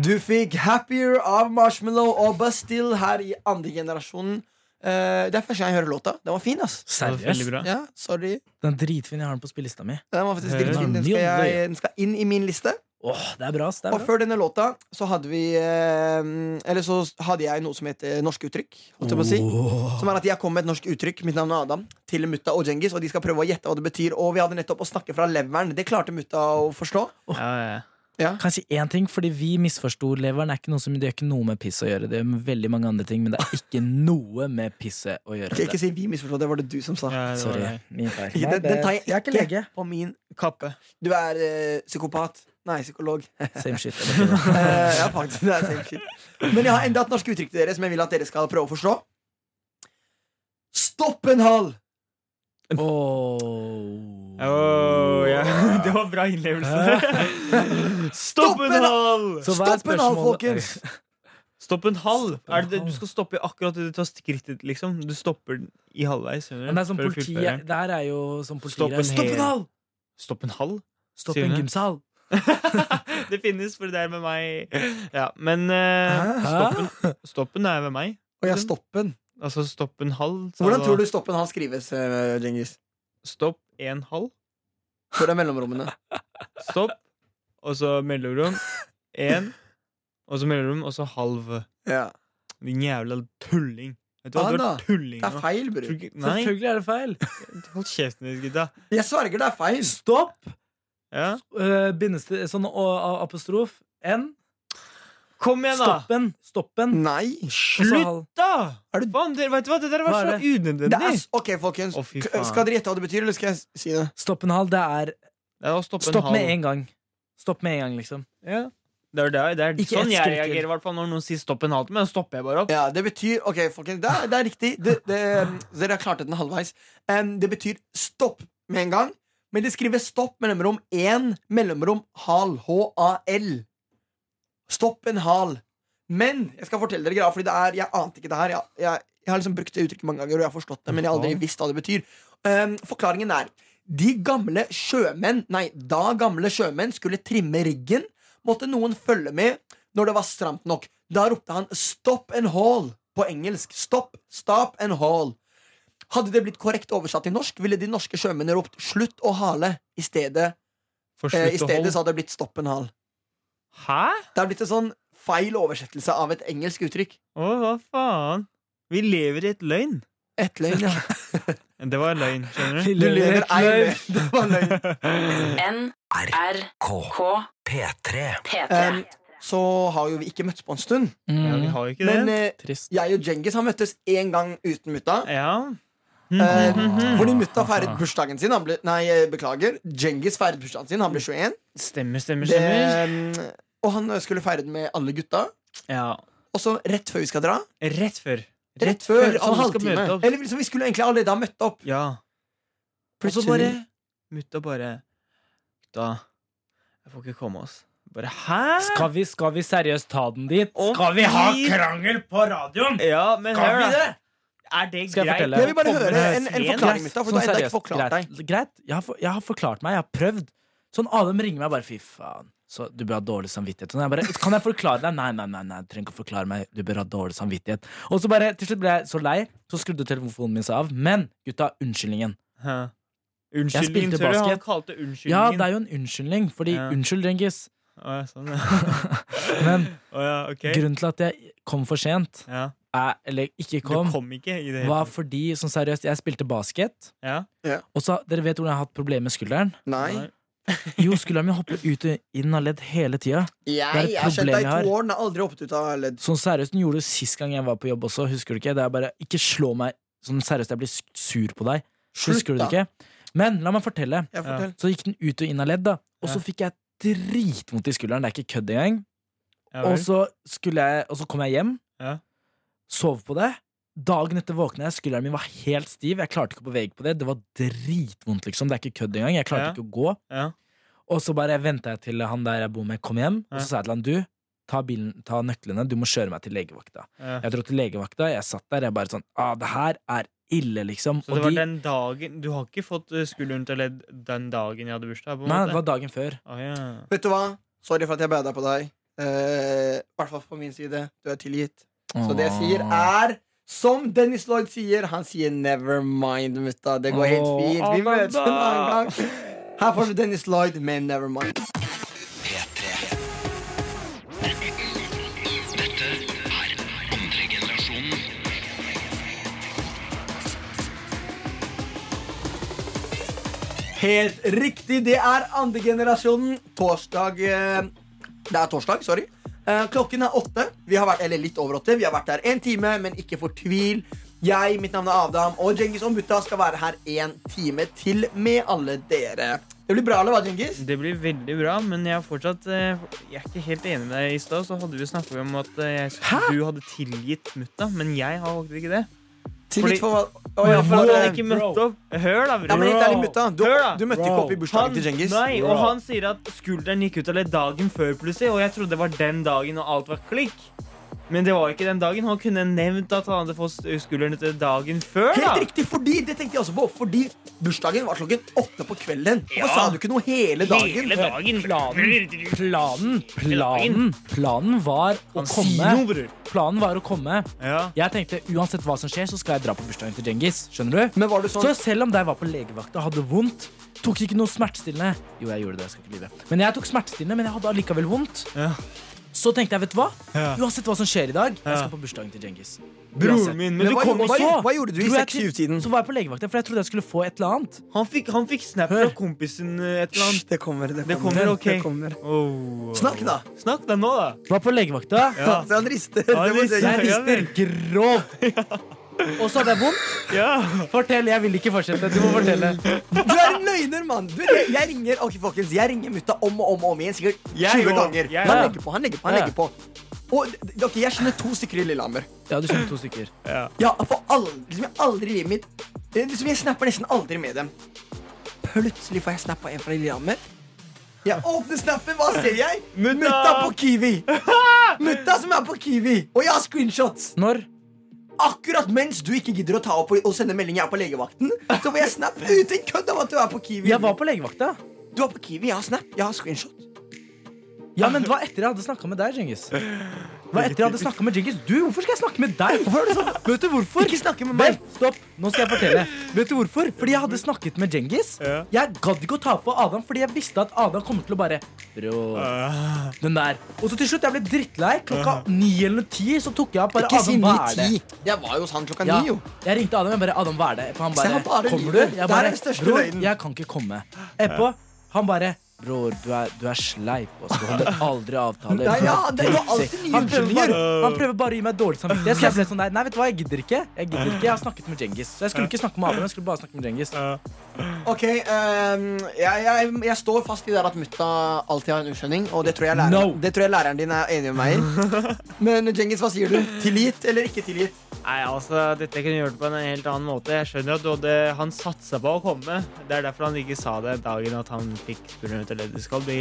Du fikk Happier av Marshmallow og Bastille her i andre generasjonen. Eh, det er første gang jeg hører låta. Den var fin, ass. Det var veldig Seriøst? bra. Ja, sorry. Den er dritfin. Jeg har den på spillelista mi. Den var faktisk Hører dritfin. Den skal, den. jeg, den skal inn i min liste. Åh, det er bra. ass, Det Og er bra. før denne låta så hadde vi eh, Eller så hadde jeg noe som heter norske uttrykk. Holdt jeg på å si. Som er at jeg kom med et norsk uttrykk, mitt navn er Adam, til mutta og Djengis, og de skal prøve å gjette hva det betyr. Og vi hadde nettopp å snakke fra leveren. Det klarte mutta å forstå. Ja, ja, ja. Kan jeg si én ting? Fordi vi misforsto leveren. Det er ikke noe som, det gjør ikke noe med piss å gjøre. Det gjør med veldig mange andre ting, men det er ikke noe med pisse å gjøre. Skal jeg ikke si vi misforstod, det var det du som sa. Ja, det var Sorry. det. Min feil. Den, den tar jeg Jeg er ikke, ikke lege. på min Kappe. Du er eh, psykopat. Nei, psykolog. Same shit. det betyr det. Eh, ja, faktisk. Det er same shit. Men jeg har enda et norsk uttrykk til dere som jeg vil at dere skal prøve å forstå. Stopp en hal! Åh. Åh, ja. Det var bra innlevelse. Stopp en hal! Så hva er Stopp en hal, spørsmålet? folkens! Stopp en halv! Stopp en er det, halv. du skal stoppe akkurat det du tar skrittet, liksom. Du stopper den i halvveis. skjønner du, Men det er sånn for å politi fullføre. Det her er jo sånn politi Stopp en Stopp en hel- hal! Stopp en halv? Stopp Sier en hun det? gymsal! det finnes, for det er med meg. Ja, men eh, Hæ? stoppen, stoppen er med meg. Og jeg stopper den. Altså stopp en halv. så altså- Hvordan da- tror du stopp en hal skrives, eh, Djengis? Stopp en halv. Hvor er mellomrommene? Stopp, og så mellomrom. En, og så mellomrom, og så halv. Ja. Din jævla tulling. Vet du hva, Hva du da? er tulling Det er nå. feil, Tror du bror. ikke- Nei, Selvfølgelig er det feil. hold kjeften din, gutta. Jeg sverger det er feil. Stopp! Ja. Uh, bindestil Sånn å, a- apostrof. N. Kom igjen, da! Stoppen. Stoppen. Nei. Og så Slutt! hal. da! Er du- Faen, dere, vet du hva? Det der var Hva er så unødvendig. Det Det er, s- ok, folkens. Å, fy K- faen. Skal dere gjette hva det betyr, eller skal jeg s- si det? Stopp en hal. Det er er å stoppe Stopp en med halv. en gang. Stopp med en gang, liksom. Ja. Det er, det er, det er Ikke sånn ett jeg skritt til. reagerer i hvert fall når noen sier stopp en halv, men da stopper jeg bare opp. Ja, det betyr Ok, folkens, det er, det er riktig. Det, det, um, dere har klart det den halvveis. Em, det betyr stopp med en gang. Men det skrives stopp mellomrom én mellomrom hal. H-a-l. Stopp en hal. Men jeg skal fortelle dere greia, Fordi det er, jeg ante ikke det her. Jeg, jeg, jeg har liksom brukt det uttrykket mange ganger, og jeg har forstått det, men jeg har aldri visst hva det betyr. Em, forklaringen er de gamle sjømenn, nei, da gamle sjømenn skulle trimme riggen, måtte noen følge med når det var stramt nok. Da ropte han 'stop and haul' på engelsk. Stopp, stop and haul. Hadde det blitt korrekt oversatt til norsk, ville de norske sjømennene ropt 'slutt å hale' i stedet. For Eh, I slutt å stedet holde. så hadde det blitt 'stopp and hal'. Hæ? Det har blitt en sånn feil oversettelse av et engelsk uttrykk. Å, hva faen? Vi lever i et løgn. Et løgn, ja. Det var løgn, skjønner du. Du lever ei løgn. Det var løgn. NRK P3. P3. Em, så har jo vi ikke møttes på en stund. Ja, vi har jo ikke det. Men eh, Mm. Trist. jeg og Djengis har møttes én gang uten mutta. ja. Eh, Mhm. Fordi mutta feiret bursdagen sin. Han ble, nei, eh, beklager. Djengis feiret bursdagen sin. Han ble 21. Stemmer, stemmer, Det, stemmer. mm, og han skulle feire den med alle gutta. Ja. Og så rett før vi skal dra. Rett før. altså Rett, før, sånn alle skal halvtime. møte opp. Eller liksom, vi skulle egentlig allerede ha møtt opp. Ja. Og så bare Mutta bare Gutta, jeg får ikke komme oss. Bare hæ? Skal vi, skal vi seriøst ta den dit? Å, Skal vi ha fy- krangel på radioen? Ja, men hør, da. det? Er det Skal greit? jeg fortelle? Jeg vil bare Kommer høre det en, en sent? forklaring, mutta. For du har Sånn ennå ikke seriøst, forklart deg. greit, greit. Jeg, har for, jeg har forklart meg, jeg har prøvd. Sånn Adam ringer meg og bare 'fy faen', så du bør ha dårlig samvittighet. Og jeg bare, kan jeg forklare deg? Nei, nei, nei, nei, du trenger ikke å forklare meg. Du bør ha dårlig samvittighet. Og så bare, til slutt ble jeg så lei, så skrudde telefonen min seg av. Men gutta, unnskyldningen. Hæ. Jeg Unnskyldningen, spilte tror jeg han basket. kalte Ja, det unnskyldningen. er jo en unnskyldning, fordi Ja. unnskyld, Djengis. Å, ja, sånn, ja. Men Å, ja, ok. grunnen til at jeg kom for sent, Ja. eh, eller Du ikke kom, kom ikke i det hele var tatt. fordi, sånn seriøst, jeg spilte basket. Ja. Og så, Dere vet hvordan jeg har hatt problemer med skulderen? Nei. Jo, skulderen min hopper ut og inn av ledd hele tida. Jeg et jeg har kjent deg problem i jeg to år, den har aldri hoppet ut av ledd. Sånn seriøst, den gjorde det sist gang jeg var på jobb også. Husker du ikke? Det er bare, Ikke slå meg sånn seriøst, jeg blir sk- sur på deg. Husker du det ikke? Men la meg fortelle. Ja, fortell. Så gikk den ut og inn av ledd, da. Og så Ja. fikk jeg dritvondt i skulderen. Det er ikke kødd engang. Ja, Og vel. så, skulle jeg, og så kom jeg hjem, Ja. sov på det. Dagen etter våkna jeg, skulderen min var helt stiv. Jeg klarte ikke å bevege på det. Det var dritvondt, liksom. Det er ikke kødd engang. Jeg klarte Ja. ikke å gå. ja. Og så bare venta jeg til han der jeg bor med, kom hjem. Ja. Og så sa jeg til han du, ta, bilen, ta nøklene, du må kjøre meg til legevakta. ja. Jeg dro til legevakta, jeg satt der, jeg bare sånn ah, Det her er ille, liksom. Så det og var de, den dagen Du har ikke fått eh, skulderen til å ledd den dagen jeg hadde bursdag? på en nei, måte det var dagen før. Å, ja. Vet du hva? Sorry for at jeg bæda på deg. Eh, I hvert fall på min side. Du er tilgitt. Så det jeg sier, er som Dennis Lloyd sier. Han sier 'never mind', mutta. Det går helt Åh, fint. Vi Amanda. møtes en annen gang. Her får du Dennis Lloyd med 'never mind'. P3. Dette er andre generasjonen. Helt riktig, det er andregenerasjonen. Torsdag eh, Det er torsdag, sorry. Eh, Klokken er åtte. Vi har vært, eller litt over åtte. Vi har vært her en time, men ikke fortvil. Jeg, mitt navn er Adam, og Djengis og Mutta skal være her en time til med alle dere. Det blir bra, eller hva, Djengis? Det blir veldig bra, men jeg er fortsatt eh, Jeg er ikke helt enig med deg. I stad så hadde vi snakka om at eh, jeg, du hadde tilgitt mutta, men jeg har faktisk ikke det. Fordi- for hva? Å, For ja, for, han eh, ikke møtte opp. Hør, da, ja, men bror. helt ærlig, Mutta. Du, Hør da. du møtte ikke opp i bursdagen Han, til Djengis. nei, og han sier at skulderen gikk ut av ledd dagen før, plutselig. Og jeg trodde det var den dagen, og alt var klikk. Men det var ikke den dagen. Han kunne nevnt at han hadde fått skulderen til dagen før. da. Helt riktig, fordi det tenkte jeg også på. Fordi bursdagen var klokken åtte på kvelden. Hvorfor Ja. sa du ikke noe hele dagen? Hele dagen. Planen, planen, planen, planen var å Han sier noe, komme. bror. Planen var å komme. Ja. Jeg tenkte uansett hva som skjer, så skal jeg dra på bursdagen til Djengis. Skjønner du? Men var du sånn Så selv om jeg var på legevakta og hadde vondt, tok ikke noe smertestillende. Jo, jeg gjorde det. jeg skal ikke lyve. Men jeg tok smertestillende, men jeg hadde allikevel vondt. Ja. Så tenkte jeg, vet du hva? Ja. Uansett hva som skjer i dag, jeg Ja. skal på bursdagen til Djengis. Broren Uansett. min. altså, Men Men du hva- kom hva- også. hva gjorde du i Dro jeg til- seks-syv-tiden? Så var jeg på legevakta, for jeg trodde jeg skulle få et eller annet. Han fikk, han fikk snap Hør. fra kompisen eh, et eller annet. Det kommer, det Det kommer, ok. Oh. Snakk, da. Snakk da nå, da. Var på legevakta. Ja. Så han rister. Ja, Det må rister. jeg- Jeg rister grovt. Og så hadde jeg vondt. Ja. Fortell, jeg vil ikke fortsette. Du må fortelle. Du er en løgner, mann! Du, Jeg jeg ringer ok, folkens, jeg ringer mutta om og om og om igjen. Sikkert Jeg 20 òg. ganger. Jeg Han òg. legger på, han legger på. han Ja. legger på og, d- ok, Jeg kjenner to stykker i Lillehammer. Ja, du kjenner to stykker. Ja. Ja, for aldri, liksom, jeg aldri i livet mitt eh, liksom, Jeg snapper nesten aldri med dem. Plutselig får jeg snap av en fra Lillehammer. Jeg åpner snappen, hva ser jeg? Mutta! Mutta på Kiwi! Mutta som er på Kiwi! Og jeg har screenshots! Når? Akkurat mens du ikke gidder å ta opp og og sende melding Jeg er på legevakten Så får jeg snap uten kødd om at du er på Kiwi Jeg var på legevakta. Du er på Kiwi, jeg har snap, jeg har screenshot Ja, men det var etter jeg hadde snakka med deg, Djengis. Det var etter jeg hadde snakket med Djengis. Du, hvorfor skal jeg snakke med deg? Vet du hvorfor? Ikke snakke med meg Vent, stopp. Nå skal jeg fortelle. Vet du hvorfor? Fordi jeg hadde snakket med Djengis. Ja. Jeg gadd ikke å ta på Adam, fordi jeg visste at Adam kommer til å bare Bro, den der. Og så til slutt, jeg ble drittlei. Klokka ni eller ti så tok jeg opp bare Ikke si Adam, hva er det? 9-10 Jeg var jo hos han klokka Ja, 9 jo jeg ringte Adam. Jeg bare, Adam, hva er det? For han Se, bare, han bare kommer du? lyver. Jeg Der er bare, den største bror, løgnen. jeg kan ikke komme. Etterpå, han bare, bror, du er, du er sleip, og du holder aldri avtaler. Nei, ja, det er jo Drittsekk. alltid nye han, prøver bare, unnskyldninger. han prøver bare å gi meg dårlig samvittighet, så jeg ble sånn der, nei, vet du hva, jeg gidder ikke. Jeg gidder ikke, jeg har snakket med Djengis. Så jeg skulle ikke snakke med Adam, jeg skulle bare snakke med Djengis. Ok, ehm, jeg, jeg, jeg står fast i det der at mutta alltid har en uskjønning Og det tror, jeg læreren, No. det tror jeg læreren din er enig med meg i. Men Djengis, hva sier du? Tillit eller ikke tillit? Nei, altså, dette kunne jeg gjort på en helt annen måte. Jeg skjønner at du hadde, han satsa på å komme. Det er derfor han ikke sa det dagen at han fikk skulderen ut av ledd. Det skal bli,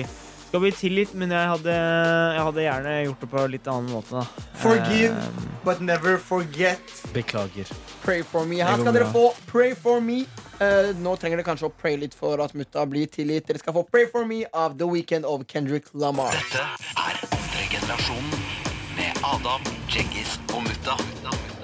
skal bli tilgitt, men jeg hadde, jeg hadde gjerne gjort det på en litt annen måte, da. Forgive, Eh, Ehm. but never forget Beklager. Pray for me. Det Her går skal dere bra. få Pray for me. Eh, nå trenger dere kanskje å pray litt for at mutta blir tilgitt. Dere skal få Pray for me av The Weekend of Kendrick Lamar. Dette er andre generasjonen med Adam, Djengis og Mutta.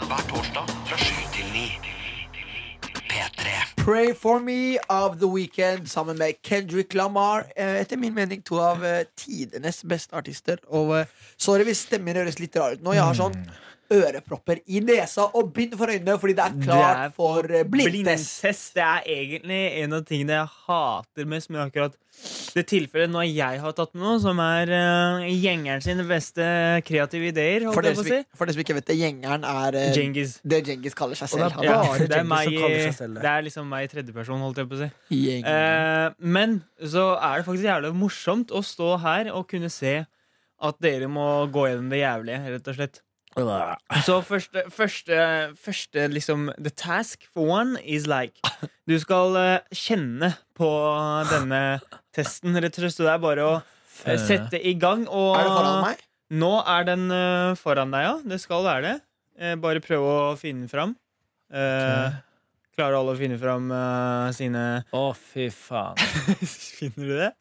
Hver torsdag fra 7 til 9. P3. Pray for me av The Weekend sammen med Kendrick Lamar. Eh, etter min mening to av eh, tidenes beste artister. Og eh, sorry hvis stemmen høres litt rar ut nå. Jeg har sånn ørepropper i nesa og bind for øynene fordi det er Mm. klart Det er for eh, blindtest. Blindtest det er egentlig en av tingene jeg hater mest med akkurat det tilfellet når jeg har tatt med noe, som er uh, gjengeren sine beste kreative ideer. For Holdt dere, jeg på som, å si. ikke- for dere som ikke vet det, gjengeren er eh, Djengis. det Djengis kaller seg Og det er selv. Ja, Han bare det, er Djengis meg, som kaller seg selv det. det er liksom meg i tredjeperson, holdt jeg på å si. er gjengeren. Eh, men så er det faktisk jævlig morsomt å stå her og kunne se at dere må gå gjennom det jævlige, rett og slett. Så første, første, første liksom The task for one is like Du skal eh, kjenne på denne testen, rett og slett. Så det er bare å eh, sette i gang. Og Er det foran meg? nå er den eh, foran deg, ja. Det skal være det. Eh, bare prøve å finne den fram. Eh, Klarer alle å finne fram eh, sine Å, fy faen. Finner du det?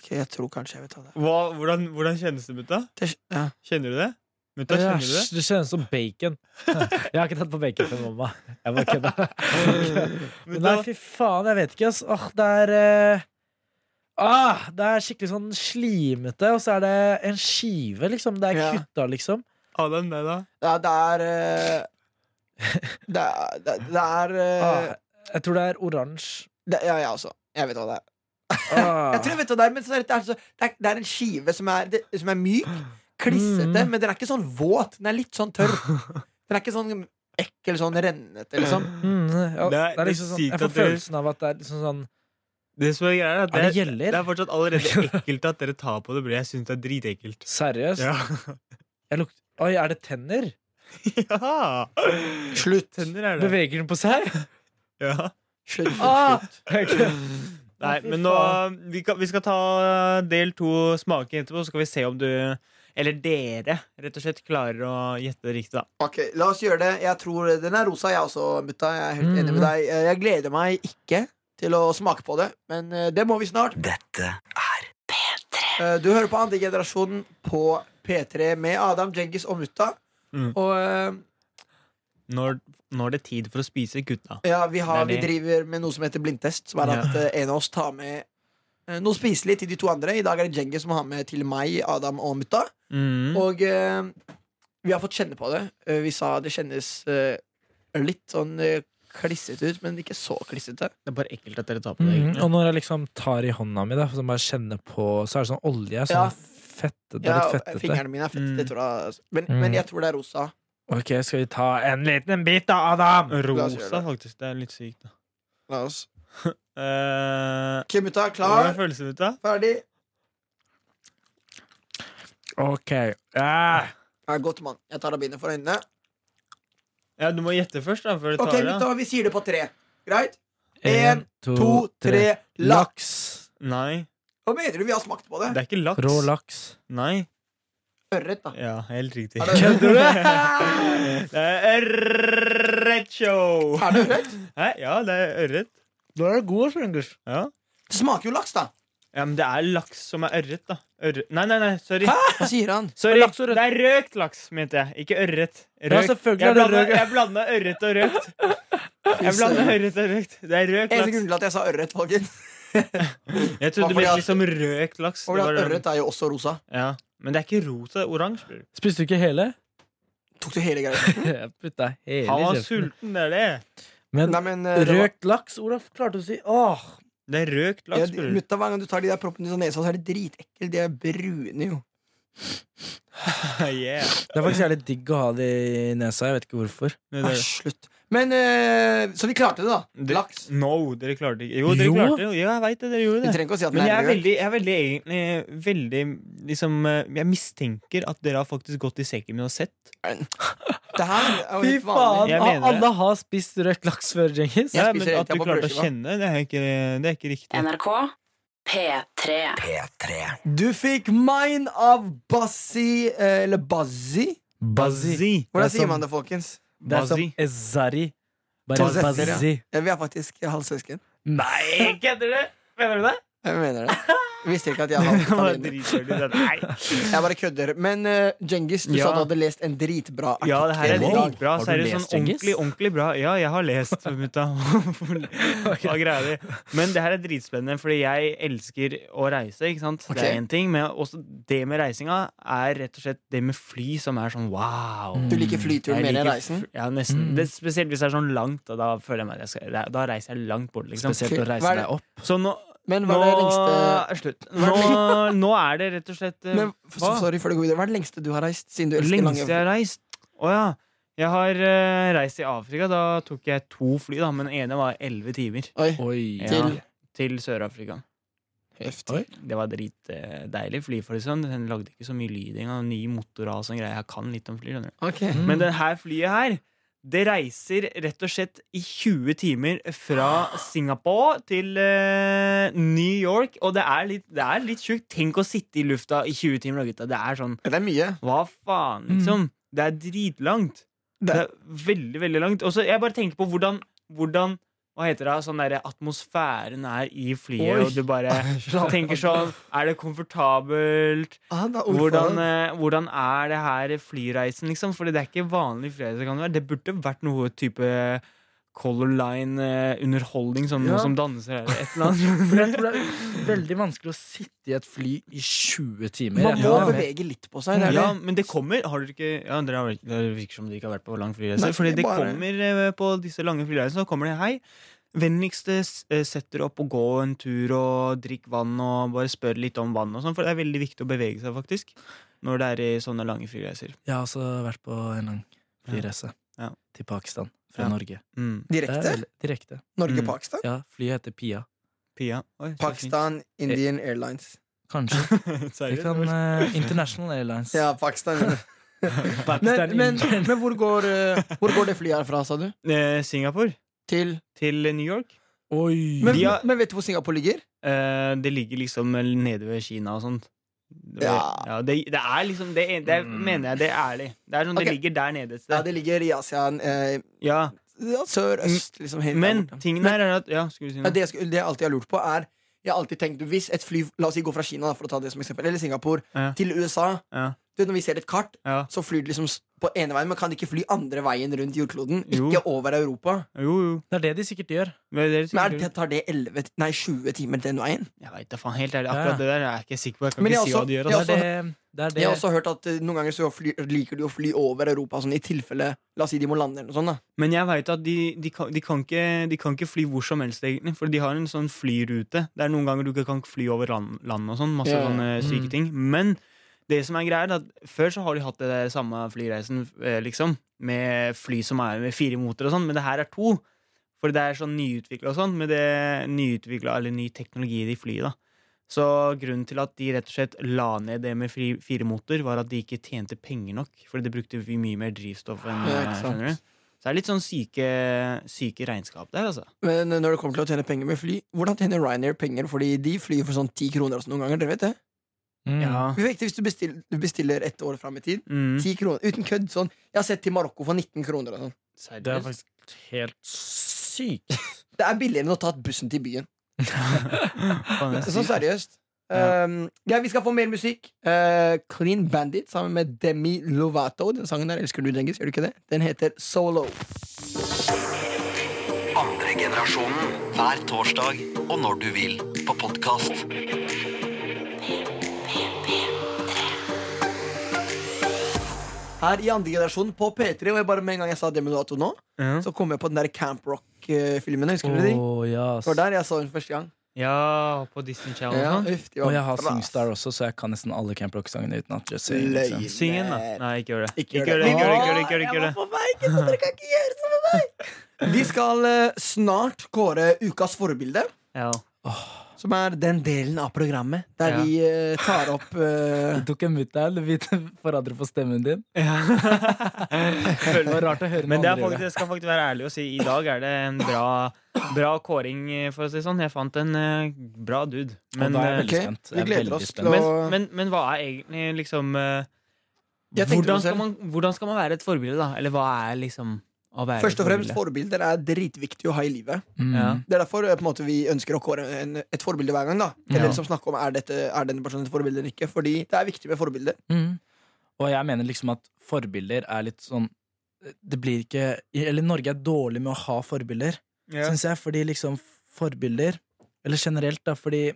Ok, jeg tror kanskje jeg vet hva det er. Hva, hvordan, hvordan kjennes det, mutta? Det- Ja. Kjenner du det? Mutta, kjenner du det? Æsj, det kjennes som bacon. Jeg har ikke tatt på bacon før, mamma. Jeg bare kødder. Men Nei, fy faen, jeg vet ikke, ass. Åh, det er eh, ah, Det er skikkelig sånn slimete, og så er det en skive, liksom. Det er Ja. kutta, liksom. Adam, deg, da? Ja, det er eh, Det er, det, det er eh, Ah, jeg tror det er oransje. det, Ja, jeg også. Jeg vet hva det er. Ah. Jeg tror jeg vet hva det er, men så er det, det, er så, det, er, det er en skive som er, det, som er myk, klissete, men den er ikke sånn våt. Den er litt sånn tørr. Den er ikke sånn ekkel, sånn rennete, liksom. Mm, ja, Det det er- er, det er liksom sånn, sykt jeg får at dere- følelsen av at det er liksom sånn Det som er greia, er at Er det det, gjeller? det er fortsatt allerede ekkelt at dere tar på det, fordi jeg syns det er dritekkelt. Seriøst? Ja. Jeg lukter, oi, er det tenner? ja! Slutt. Tenner er det. Beveger den på seg? Ja. Slutt. slutt, Ah! slutt. Nei, men nå vi, kan, vi skal ta eh, del to smaking etterpå, så skal vi se om du eller dere rett og slett klarer å gjette det riktig. da Ok, La oss gjøre det. Jeg tror Den er rosa, jeg også, mutta. Jeg er helt enig med deg. Eh, Jeg gleder meg ikke til å smake på det, men eh, det må vi snart. Dette Eh, Du hører på andre generasjonen på P3 med Adam, Djengis og mutta. Mm. Og eh, Når, når det er tid for å spise gutta. ja, vi, har, Det vi er det. driver med noe som heter blindtest, som er Ja. at eh, en av oss tar med eh, noe spiselig til de to andre. I dag er det Djengis som har med til meg, Adam og mutta. Mm. Og eh, vi har fått kjenne på det. Eh, vi sa det kjennes eh, litt sånn eh, klissete ut, men ikke så klissete. Det er bare ekkelt at dere tar på det. Mm, egentlig. og når jeg liksom tar i hånda mi, da, så bare kjenner på, så er det sånn olje. Sånn Ja. fett, det er Ja, litt og fettete. fingrene mine er fett, Mm. det tror jeg. altså. Men, Mm. men jeg tror det er rosa. Ok, skal vi ta en liten bit da, Adam? La oss gjøre Rosa, det. faktisk. Det er litt sykt, da. La oss. Eh, Kim Mutta, hvordan klar, føles det ut, da? ferdig. Ok. Ja. Ja, godt, mann. Jeg tar og begynner for øynene. Ja, du må gjette først, da. Før du Ok, tar det. Mutta, vi sier det på tre. Greit? En, En, to, tre, lakk. Laks. Nei, Hva mener du? Vi har smakt på det er det. ikke laks. Rå laks. Nei. Ørret, da. Ja, helt riktig. Er det ørret? Kødder du? Det er ørretshow. Er det ørret? Hæ? Ja, det er ørret. Da er det god, Svengers. Ja. Det smaker jo laks, da. ja, men det er laks som er ørret, da. Ørret. Nei, nei, nei, sorry. Hva sier han? Sorry, Laks og rødt. Det er røkt laks, mente jeg. Ikke ørret. Ja, selvfølgelig er Jeg det blanda- røkt. Jeg blanda ørret og røkt. Jeg blanda ørret og røkt. Det er røkt Eneste laks. grunnen til at jeg sa ørret, folkens, Jeg var trodde du fordi mente at- liksom røkt laks. var Det at var- ørret er jo også rosa. Ja. Men det er ikke rosa, det er oransje. bror. Spiste du ikke hele? Tok du hele greia? Jeg putta hele Han var kjeften. sulten, det er det. Men Nei, men eh, det var- røkt laks, Olaf, klarte du å si? Åh, Det er røkt Ja, laks, de- bror. Mutta, hver gang du tar de der proppene i sånn nesa, så er de dritekkelt. De er brune, jo. Yeah. Det er faktisk jævlig digg å ha det i nesa. Jeg vet ikke hvorfor. Det er det. Æsj, slutt. Men eh, Så vi klarte det, da. Det- Laks. No, dere klarte ikke. Jo, dere Jo. klarte det. Ja, jeg veit det. Dere Vi gjorde det. trenger ikke å si at den Men jeg er er rød. veldig, jeg er veldig egentlig veldig liksom eh, Jeg mistenker at dere har faktisk gått i sekken min og sett. Det her er jo Fy helt faen! vanlig. Jeg mener Alle har spist røkt laks før, Djengis. Jeg Ja, spiser men hele at du tida på klarte å brødskiva. kjenne, det er ikke, det er ikke riktig. NRK P3. Du fikk Mine av Bazzi eh, Eller Bazzi? Bazzi. Bazzi. Hvordan Det er sier som- man det, folkens? Det er som Bazzi. Ezari. Bare To setter, ja. Bazzi. Ja, vi er faktisk halvsøsken. Nei, kødder du? Mener du det? Jeg mener det. Jeg visste ikke at jeg hadde Det var talent. dritdårlig, det der. Nei. Jeg bare kødder. Men eh, Djengis, du Ja. sa du hadde lest en dritbra artikkel. Ja, det her er i dag. dritbra. Har du Seriøst, sånn lest, Djengis? ordentlig, ordentlig bra. Ja, jeg har lest, mutta. Hva greia di? Men det her er dritspennende, fordi jeg elsker å reise, ikke sant? Det Ok. er én ting, men også det med reisinga er rett og slett det med fly som er sånn wow. Du liker flyturen Jeg mer enn liker reisen? fl- Ja, nesten. Mm. Det, spesielt hvis det er sånn langt, og da føler jeg meg at jeg skal, da reiser jeg langt bort, liksom. Spesielt Hva å er reise det- deg opp. Så nå Men hva nå er det lengste er slutt. Nå, nå er det rett og slett eh, men, f- hva? Sorry før du går videre. Hva er det lengste du har reist? Siden du elsker Lengst lange jeg har reist? Å ja. Jeg har eh, reist i Afrika. Da tok jeg to fly, da, men den ene var elleve timer. Oi, Oi. Ja, Til? til Sør-Afrika. heftig. Det var dritdeilig fly, for liksom. Den lagde ikke så mye lyd engang. Ny motor og all sånn greie. Jeg kan litt om fly. skjønner du. Ok. Men det her flyet her, det reiser rett og slett i 20 timer fra Singapore til eh, New York. Og det er litt, det er litt sjukt. Tenk å sitte i lufta i 20 timer, da, gutta. Det er sånn Det er mye. Hva faen, liksom? Det er dritlangt. Mm. Det Det- er veldig, veldig langt. Og så jeg bare tenker på hvordan, hvordan hva heter det, sånn der atmosfæren er i flyet, Oi. og du bare tenker sånn Er det komfortabelt? Ah, det er ord for Hvordan, det. eh, hvordan er det her flyreisen, liksom? Fordi det er ikke vanlig flyreise. Kan det, være. det burde vært noe type Color Line-underholdning, sånn Ja. noe som danser eller et eller For jeg annet. tror det er veldig vanskelig å sitte i et fly i 20 timer. Man må Ja. bevege litt på seg. Det er Ja, det. men det kommer Har dere ikke ja, dere har, vel- Det virker som dere ikke har vært på lang flyreise. Nei, Fordi det bare- kommer eh, på disse lange flyreisene, så kommer det hei. Vennligst eh, s- eh, sett dere opp og gå en tur og drikk vann og bare spør litt om vann og sånn, for det er veldig viktig å bevege seg, faktisk, når det er i sånne lange flyreiser. Jeg har også vært på en lang flyreise Ja. til Pakistan fra Ja. Norge. Mm. Det er Direkte? veldig- Direkte. Mm. Norge-Pakistan? Ja, flyet heter Pia. Pia. Oi, så Pakistan, Indian Eh. Airlines. Kanskje. fint. Det Seriøst? kan, eh, International Airlines. Ja, Pakistan. Men, Pakistan men, Indian. men hvor, går, eh, hvor går det flyet her fra, sa du? Eh, Singapore Til til New York. Oi! men, De har- men vet du hvor Singapore ligger? Eh, det ligger liksom nede ved Kina og sånt. Det- Ja. Mm. ja, det, det er liksom Det, det mener jeg, det er ærlig. Det er sånn, Ok. det ligger der nede et sted. Ja, det ligger i Asia. eh, Ja, ja, Sør-øst, liksom. Helt der Mm. men borte. tingen her er at Ja, skulle du si Ja, noe? det, jeg skulle, det jeg alltid har lurt på, er Jeg har alltid tenkt Hvis et fly La oss si gå fra Kina, da, for å ta det som eksempel, eller Singapore, Ja. til USA Ja. du vet, Når vi ser et kart, Ja. så flyr det liksom s- på ene veien, men kan det ikke fly andre veien rundt jordkloden. Jo. Ikke over Europa. Jo, jo. Det er det de sikkert gjør. Men det er Men er sikkert, det, tar det 11, ti- nei, 20 timer den veien? jeg veit da faen. Helt ærlig, Ja. akkurat det der er jeg ikke sikker på. Jeg kan Men ikke jeg si også- hva de gjør. Det jeg Altså. er det, det, er det. Jeg har også hørt at eh, noen ganger så fly, liker de å fly over Europa, sånn i tilfelle La oss si de må lande eller noe sånt. da Men jeg veit at de, de, kan, de, kan ikke, de kan ikke fly hvor som helst, egentlig. For de har en sånn flyrute. Det er noen ganger du ikke kan fly over land, land og sånn. Masse Ja. sånne syke Mm. ting. Men det som er greia, er at før så har de hatt det der samme flyreisen, eh, liksom. Med fly som er med fire motorer og sånn. Men det her er to. For det er sånn nyutvikla og sånn. Med det nyutvikla, eller ny teknologi i de flyet, da. Så grunnen til at de rett og slett la ned det med fri, fire motor, var at de ikke tjente penger nok. Fordi det brukte vi mye mer drivstoff enn Ja, eh, ikke sant. skjønner du? Så det er litt sånn syke, syke regnskap der, altså. Men eh, når det kommer til å tjene penger med fly, hvordan tjener Ryanair penger? Fordi de flyr for sånn 10 kroner og sånn noen ganger. Dere vet det? Mm. Ja. Vi vet det Hvis du bestiller, du bestiller ett år fram i tid, Mm. 10 kroner, uten kødd sånn Jeg har sett til Marokko for 19 kroner og sånn. Det er faktisk helt sykt. Det er billigere enn å ta bussen til byen. Faen, det er Sånn sykt. seriøst. Ja. Um, ja, vi skal få mer musikk. Uh, Clean Bandit sammen med Demi Lovato. Den sangen der elsker du, Dengis. Gjør du ikke det? Den heter Solo. Andre generasjonen hver torsdag og når du vil på podkast. Her i andre generasjon på P3. Og jeg bare med en gang jeg sa Demi Lovato nå, Ja. så kom jeg på den der Camp Rock-filmen. Husker du de? Å, ja, ass. Det var der jeg så den første gang. ja, på Disney Channel. Ja, og sånn. uff, de var Og jeg har bra. Singstar også, så jeg kan nesten alle Camp Rock-sangene utenat. just saying, liksom. Løgn. Syng en, da. Nei, ikke gjør det. Ikke Ikke gjør det, ikke gjør det, ikke gjør det, ikke gjør det, ikke gjør det. på vei, gutter. Dere kan ikke gjøre sånn med meg. Vi skal eh, snart kåre ukas forbilde. Ja. Som er den delen av programmet der Ja. vi eh, tar opp eh, Du tok en mutter'n. Vi forandrer på stemmen din. Det Følg med. var rart å høre Men noen det er faktisk, andre gjøre det. jeg skal faktisk være ærlig og si i dag er det en bra, bra kåring, eh, for å si det sånn. Jeg fant en eh, bra dude. Men, da eh, er Veldig Ok, spent. vi Jeg er gleder veldig oss til spent. å men, men, men hva er egentlig liksom eh, Jeg tenkte på hvordan, det selv. skal man, hvordan skal man være et forbilde, da? Eller hva er liksom å være Først og fremst, forbilde. forbilder er dritviktig å ha i livet. Ja. Mm. Det er derfor eh, på en måte, vi ønsker å kåre en, et forbilde hver gang. da Til Ja. dere som snakker om er, dette, er denne personen et forbilde eller ikke. Fordi det er viktig med forbilder. Mm. Og jeg mener liksom at forbilder er litt sånn Det blir ikke Eller Norge er dårlig med å ha forbilder, Ja. syns jeg. Fordi liksom forbilder Eller generelt, da, fordi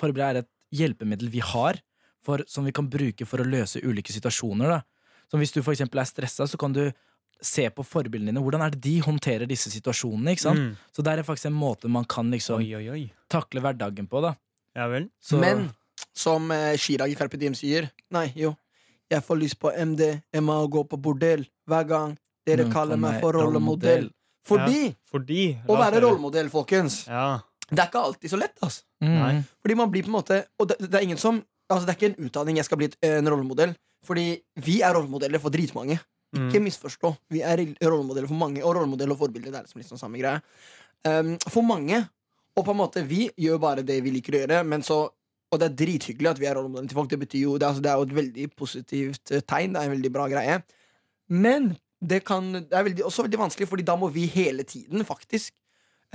forbilder er et hjelpemiddel vi har, for, som vi kan bruke for å løse ulike situasjoner. da Som hvis du for eksempel er stressa, så kan du se på forbildene dine. Hvordan er det de håndterer disse situasjonene? ikke sant? Mm. Så det er faktisk en måte man kan liksom Oi, oi, oi. takle hverdagen på. da Ja vel. så, Men som eh, Chirag i Carpe Diem sier Nei, jo. Jeg får lyst på MD, jeg må gå på bordell hver gang dere Nå kaller kommer meg for rollemodell. rollemodell. Fordi Fordi å la oss være høre. rollemodell, folkens, Ja. det er ikke alltid så lett. ass mm, Nei. Fordi man blir på en måte Og det, det er ingen som Altså det er ikke en utdanning jeg skal bli et, en rollemodell. Fordi vi er rollemodeller for dritmange. Mm. Ikke misforstå. Vi er rel- rollemodeller for mange, og rollemodell og forbilder det er liksom litt sånn samme greie. Um, for mange. Og på en måte, vi gjør jo bare det vi liker å gjøre, men så og det er drithyggelig at vi er rollemodellen til folk. Det betyr jo, det er, altså, det er jo et veldig positivt eh, tegn. Det er en veldig bra greie. Men det, kan, det er veldig, også veldig vanskelig, Fordi da må vi hele tiden faktisk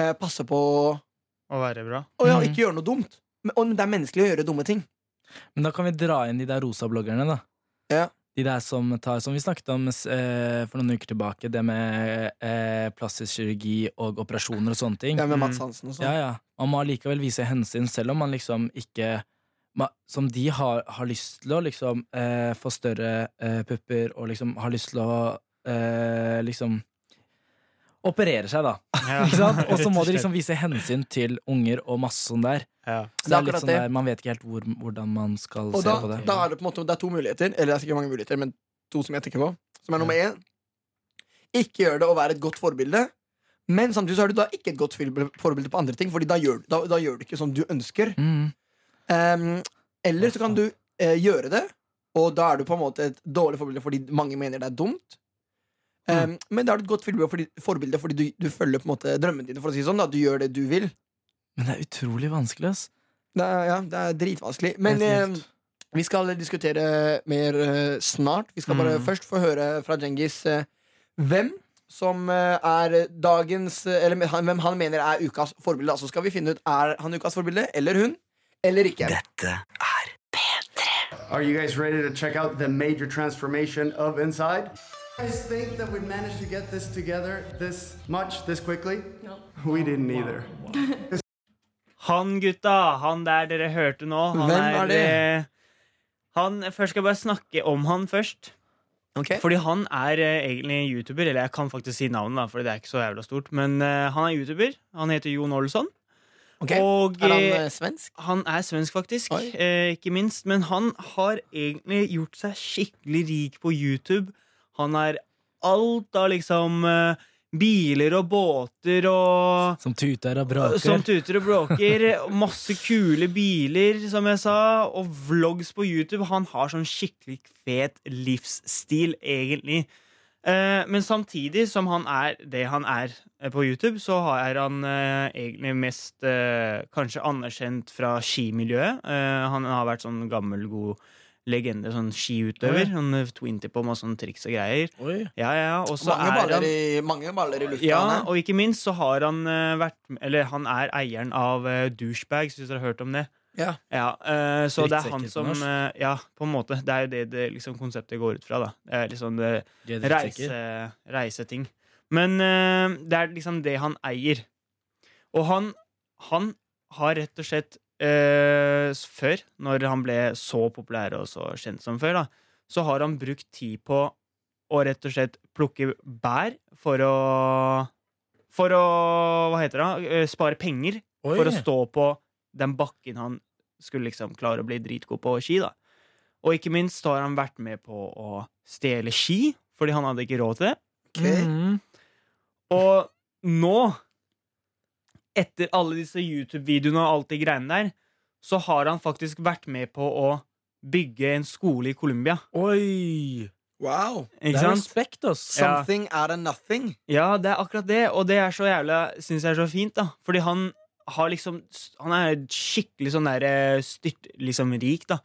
eh, passe på å Å være bra. ja, Mhm. ikke gjøre noe dumt. Men, og det er menneskelig å gjøre dumme ting. Men da kan vi dra inn de der rosa bloggerne, da. Ja. De der som tar, som vi snakket om eh, for noen uker tilbake, det med eh, plastisk kirurgi og operasjoner og sånne ting. Ja, med Mhm. Mads Hansen og sånn. Ja, ja. Man må allikevel vise hensyn, selv om man liksom ikke ma- Som de har, har lyst til å liksom eh, få større eh, pupper og liksom har lyst til å eh, liksom Operere seg, da. Ja. Ikke sant? Og så må Rett de slett. liksom vise hensyn til unger og masse sånn der. ja. Så det er akkurat litt sånn det. der, Man vet ikke helt hvor, hvordan man skal Og se da, på det. da er det på en måte Det er to muligheter, eller det er sikkert mange muligheter, men to som jeg tenker på. Som er nummer én. Ikke gjør det å være et godt forbilde. Men samtidig så er du da ikke et godt forbilde forbilde på andre ting, Fordi da gjør, da, da gjør du ikke som du ønsker. Mm. Um, eller så kan du eh, gjøre det, og da er du på en måte et dårlig forbilde fordi mange mener det er dumt. Um, Men da er du et godt forbilde fordi, forbilde fordi du, du følger på en måte drømmene dine. For å si det sånn da Du gjør det du vil. Men det er utrolig vanskelig, ass. Det er, ja, det er dritvanskelig. Men Helt eh, vilt. vi skal diskutere mer eh, snart. Vi skal bare Mm. først få høre fra Djengis eh, hvem som eh, er dagens eh, Eller han, hvem han mener er ukas forbilde. Så skal vi finne ut er han ukas forbilde eller hun eller ikke. Dette Are you guys ready to check out the major transformation of Inside? You guys think that we'd manage to get this together this much, this quickly? No. We didn't either. Han gutta, han der dere hørte nå, han Hvem er det? eh, Han, først skal jeg bare snakke om han først. Ok. Fordi han er eh, egentlig YouTuber, eller jeg kan faktisk si navnet, da, Fordi det er ikke så jævla stort. Men eh, han er YouTuber. Han heter Jon Olsson. Ok. Og er han eh, eh, svensk? han er svensk, faktisk. Oi. Eh, ikke minst. Men han har egentlig gjort seg skikkelig rik på YouTube. Han har alt av liksom eh, biler og båter og Som tuter og braker. som tuter og bråker. Masse kule biler, som jeg sa. Og vlogs på YouTube. Han har sånn skikkelig fet livsstil, egentlig. Eh, men samtidig som han er det han er eh, på YouTube, så er han eh, egentlig mest eh, kanskje anerkjent fra skimiljøet. Eh, han har vært sånn gammel, god legende, sånn skiutøver. Han eh, twintip og masse sånne triks og greier. Oi. Ja, ja, ja. Og så Mange er han- baller, i, mange baller i lufta. ja, han er. og ikke minst så har han eh, vært Eller han er eieren av uh, Douchebags, hvis dere har hørt om det. Ja. eh, så det er han Drittsekker på som norsk. eh, Ja, på en måte. Det er jo det, det liksom, konseptet går ut fra, da. Det er liksom det De er drittsekker. reise, reiseting. Men eh, det er liksom det han eier. Og han, han har rett og slett eh, s- Før, når han ble så populær og så kjent som før, da, så har han brukt tid på å rett og slett plukke bær for å For å Hva heter det? da? Eh, Spare penger Oi. for å stå på den bakken han skulle liksom klare å bli dritgod på ski, da. Og ikke minst så har han vært med på å stjele ski, fordi han hadde ikke råd til det. Ok. Mm. Mhm. Og nå, etter alle disse YouTube-videoene og alt de greiene der, så har han faktisk vært med på å bygge en skole i Colombia. Oi! Wow. Det Ikke er sant? respekt, ass. Ja. Something out of nothing. Ja, det er akkurat det, og det er så jævla Synes jeg er så fint, da. Fordi han har liksom Han er skikkelig sånn der eh, styrt... Liksom rik, da.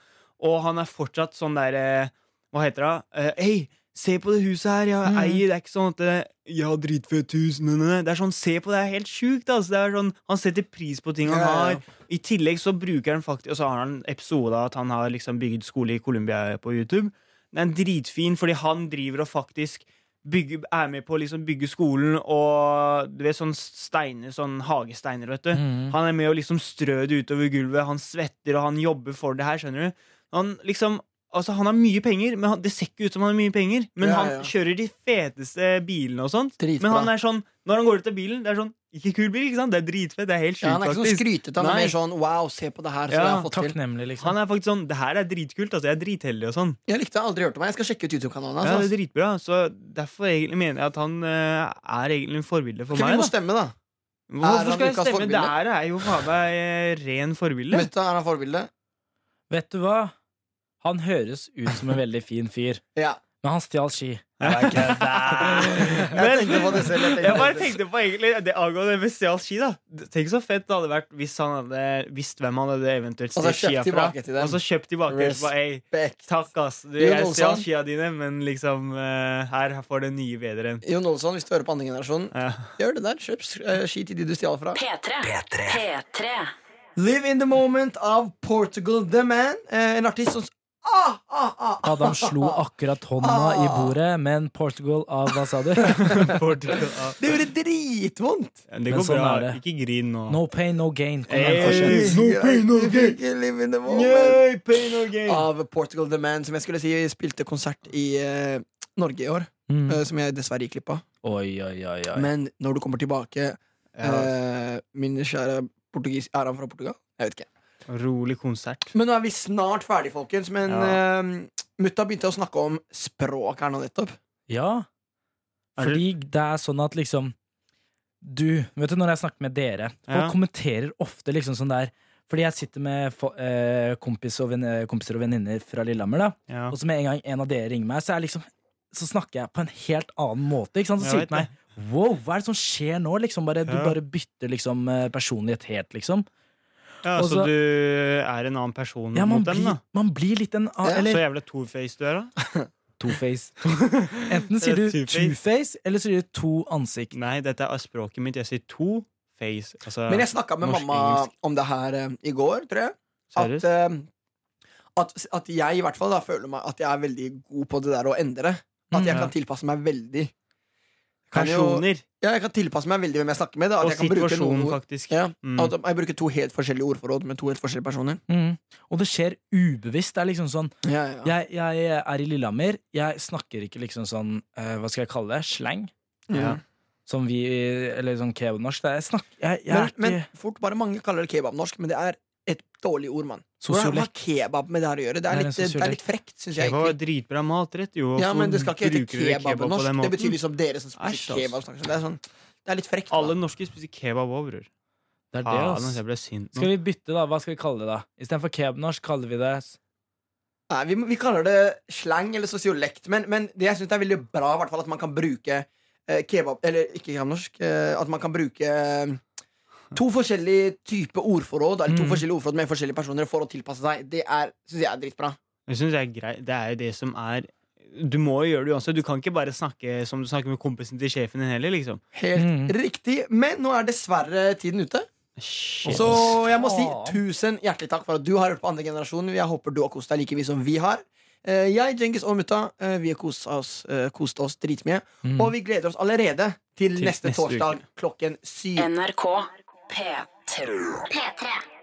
Og han er fortsatt sånn der eh, Hva heter det? da? Eh, Hei, Se på det huset her, Mm. jeg eier. Det er ikke sånn at det, Jeg har dritfett hus. Nei, nei, nei. Det er sånn, se på det, det er helt sjukt. Altså. Det er sånn, han setter pris på ting han Ja, ja, ja. har. I tillegg så bruker han faktisk Og så har han episode av at han har liksom bygd skole i Colombia på YouTube. Den er dritfin, fordi han driver og faktisk bygge, er med på å liksom bygge skolen og du vet, sånn steiner, sånn hagesteiner, vet du. Mhm. Han er med å liksom strø det utover gulvet. Han svetter, og han jobber for det her, skjønner du. Han liksom Altså, han har mye penger, men han, det ser ikke ut som han har mye penger. Men Ja, han ja. kjører de feteste bilene og sånt. Dritbra. Men han er sånn, når han går ut av bilen, det er sånn Ikke kul bil, ikke sant? Det er dritfett. Det er helt sjukt, Ja, han er ikke sånn faktisk. skrytete. Han er Nei. mer sånn wow, se på det her. som Ja, jeg har fått til Takknemlig, liksom. Han er faktisk sånn Det her er dritkult. Altså, jeg er dritheldig og sånn. Jeg likte det, aldri hørt om han. Jeg skal sjekke ut YouTube-kanalen hans. Ja, det altså. er dritbra. Så derfor egentlig mener jeg at han eh, er egentlig en forbilde for Ok, meg. vi da. må stemme, da. Er Hvorfor han skal jeg ukas stemme? forbilde? Det her er jo faen meg eh, ren forbilde. Møtte er han forbilde. Vet du hva? Han høres ut som en veldig fin fyr, Ja. men han stjal ski. Jeg tenkte på det selv. Jeg Jeg tenkte bare på det selv. tenkte på egentlig det angående bestial ski, da. Tenk så fett det hadde vært hvis han hadde visst hvem han hadde eventuelt Og så stjålet skia kjøpt fra. tilbake til dem. Og så kjøpt tilbake og bare, «Ey, Respekt. Takk, ass. Du, Jon jeg stjal Olsson. skia dine, men liksom eh, her får du nye bedre enn. Jon Olsson, hvis du hører på andre generasjon, Ja. gjør det der. Kjøp eh, ski til de du stjal fra. P3. P3. Live in the moment av Portugal The Man. Eh, en artist som ah, ah, ah, ah. Adam slo akkurat hånda i bordet, men Portugal av hva sa du? Det Det gjorde dritvondt! går sånn bra. er det. Ikke grin nå. No pain, no gain. Kom igjen, Hey. fortsett. Jeg fikk en Live in the moment Ah, Yay, pain or gain. av Portugal The Man, som jeg skulle si spilte konsert i eh, Norge i år. Mm. eh, som jeg dessverre gikk glipp av. Oi, oi, oi, oi. Men når du kommer tilbake, eh, min kjære portugis Er han fra Portugal? Jeg vet ikke. Rolig konsert. Men nå er vi snart ferdig, folkens. Men Ja. eh, mutta begynte å snakke om språk her nå nettopp. Ja. Er det- Fordi det er sånn at liksom Du, vet du når jeg snakker med dere Folk Ja. kommenterer ofte liksom sånn der Fordi jeg sitter med fo- eh, kompis og ven, eh, kompiser og venninner fra Lillehammer da Ja. Og så med en gang en av dere ringer meg Så, er jeg liksom, så snakker jeg på en helt annen måte ikke sant? Så Jeg sier vet de til meg Wow, hva er det som skjer nå? Liksom bare, Du Ja. bare bytter liksom eh, personlighet helt liksom Ja, Og så så- du er en annen person Ja, man Mm. mot dem, blir, da? man blir litt en annen eller- Så jævla two-face du er, da? Two-face Enten sier Eller du two-face. two-face Eller sier du to ansikt Nei, dette er språket mitt. Jeg sier two-face. Altså, Men jeg snakka med norsk, mamma om det her eh, i går, tror jeg. At, seriøst. eh, at, at jeg i hvert fall da føler meg at jeg er veldig god på det der å endre. At Mm. jeg Ja. kan tilpasse meg veldig. Kan jo- Personer ja, jeg kan tilpasse meg veldig hvem jeg snakker med. Da, at og jeg kan bruke noen situasjonen, ord. faktisk. Ja, Mm. at jeg bruker to helt forskjellige ordforråd med to helt forskjellige personer. Mm. Og det skjer ubevisst. Det er liksom sånn Ja, ja. jeg, jeg er i Lillehammer. Jeg snakker ikke liksom sånn eh, Hva skal jeg kalle det? Slang? Ja. Mm. Som vi Eller sånn kebabnorsk. Det er- Jeg snakker Jeg, jeg Men, er men ikke fort bare mange kaller det kebabnorsk, men det er et dårlig ord, mann. Hvordan har sosiolekt. kebab med det her å gjøre? Det Det er er en litt, det sosiolekt. er litt frekt, syns jeg. Det var egentlig dritbra matrett, jo. Ja, hvorfor men det skal ikke hete bruker dere kebab på på den norsk. Det måten? betyr liksom dere som Æsj, altså. spiser kebab. snakker sånn. Det er, sånn, det er litt frekt. da. Alle norske spiser kebab òg, bror. Det er det, altså. Faen, ass, ass. jeg ble sint nå. Skal vi bytte, da? Hva skal vi kalle det, da? Istedenfor kebabnorsk kaller vi det s- Nei, vi, vi kaller det slang eller sosiolekt, men, men det jeg syns er veldig bra, i hvert fall, at man kan bruke eh, kebab Eller ikke kebabnorsk. Eh, at man kan bruke eh, to forskjellige typer ordforråd Eller to Mm. forskjellige ordforråd med forskjellige personer for å tilpasse seg. Det er, syns jeg er dritbra. Jeg synes det er greit. Det er jo det som er Du må jo gjøre det uansett. Du kan ikke bare snakke som du snakker med kompisen til sjefen din heller, liksom. Helt Mm. riktig. Men nå er dessverre tiden ute. Shit. Så jeg må si Faen. tusen hjertelig takk for at du har hørt på andre generasjon. Jeg håper du har kost deg like mye som vi har. Eh, Jeg, Djengis og mutta, eh, vi har kost oss, eh, kost oss dritmye. Og vi gleder oss allerede til, Til neste, neste torsdag uke. klokken syv. NRK P3. P3.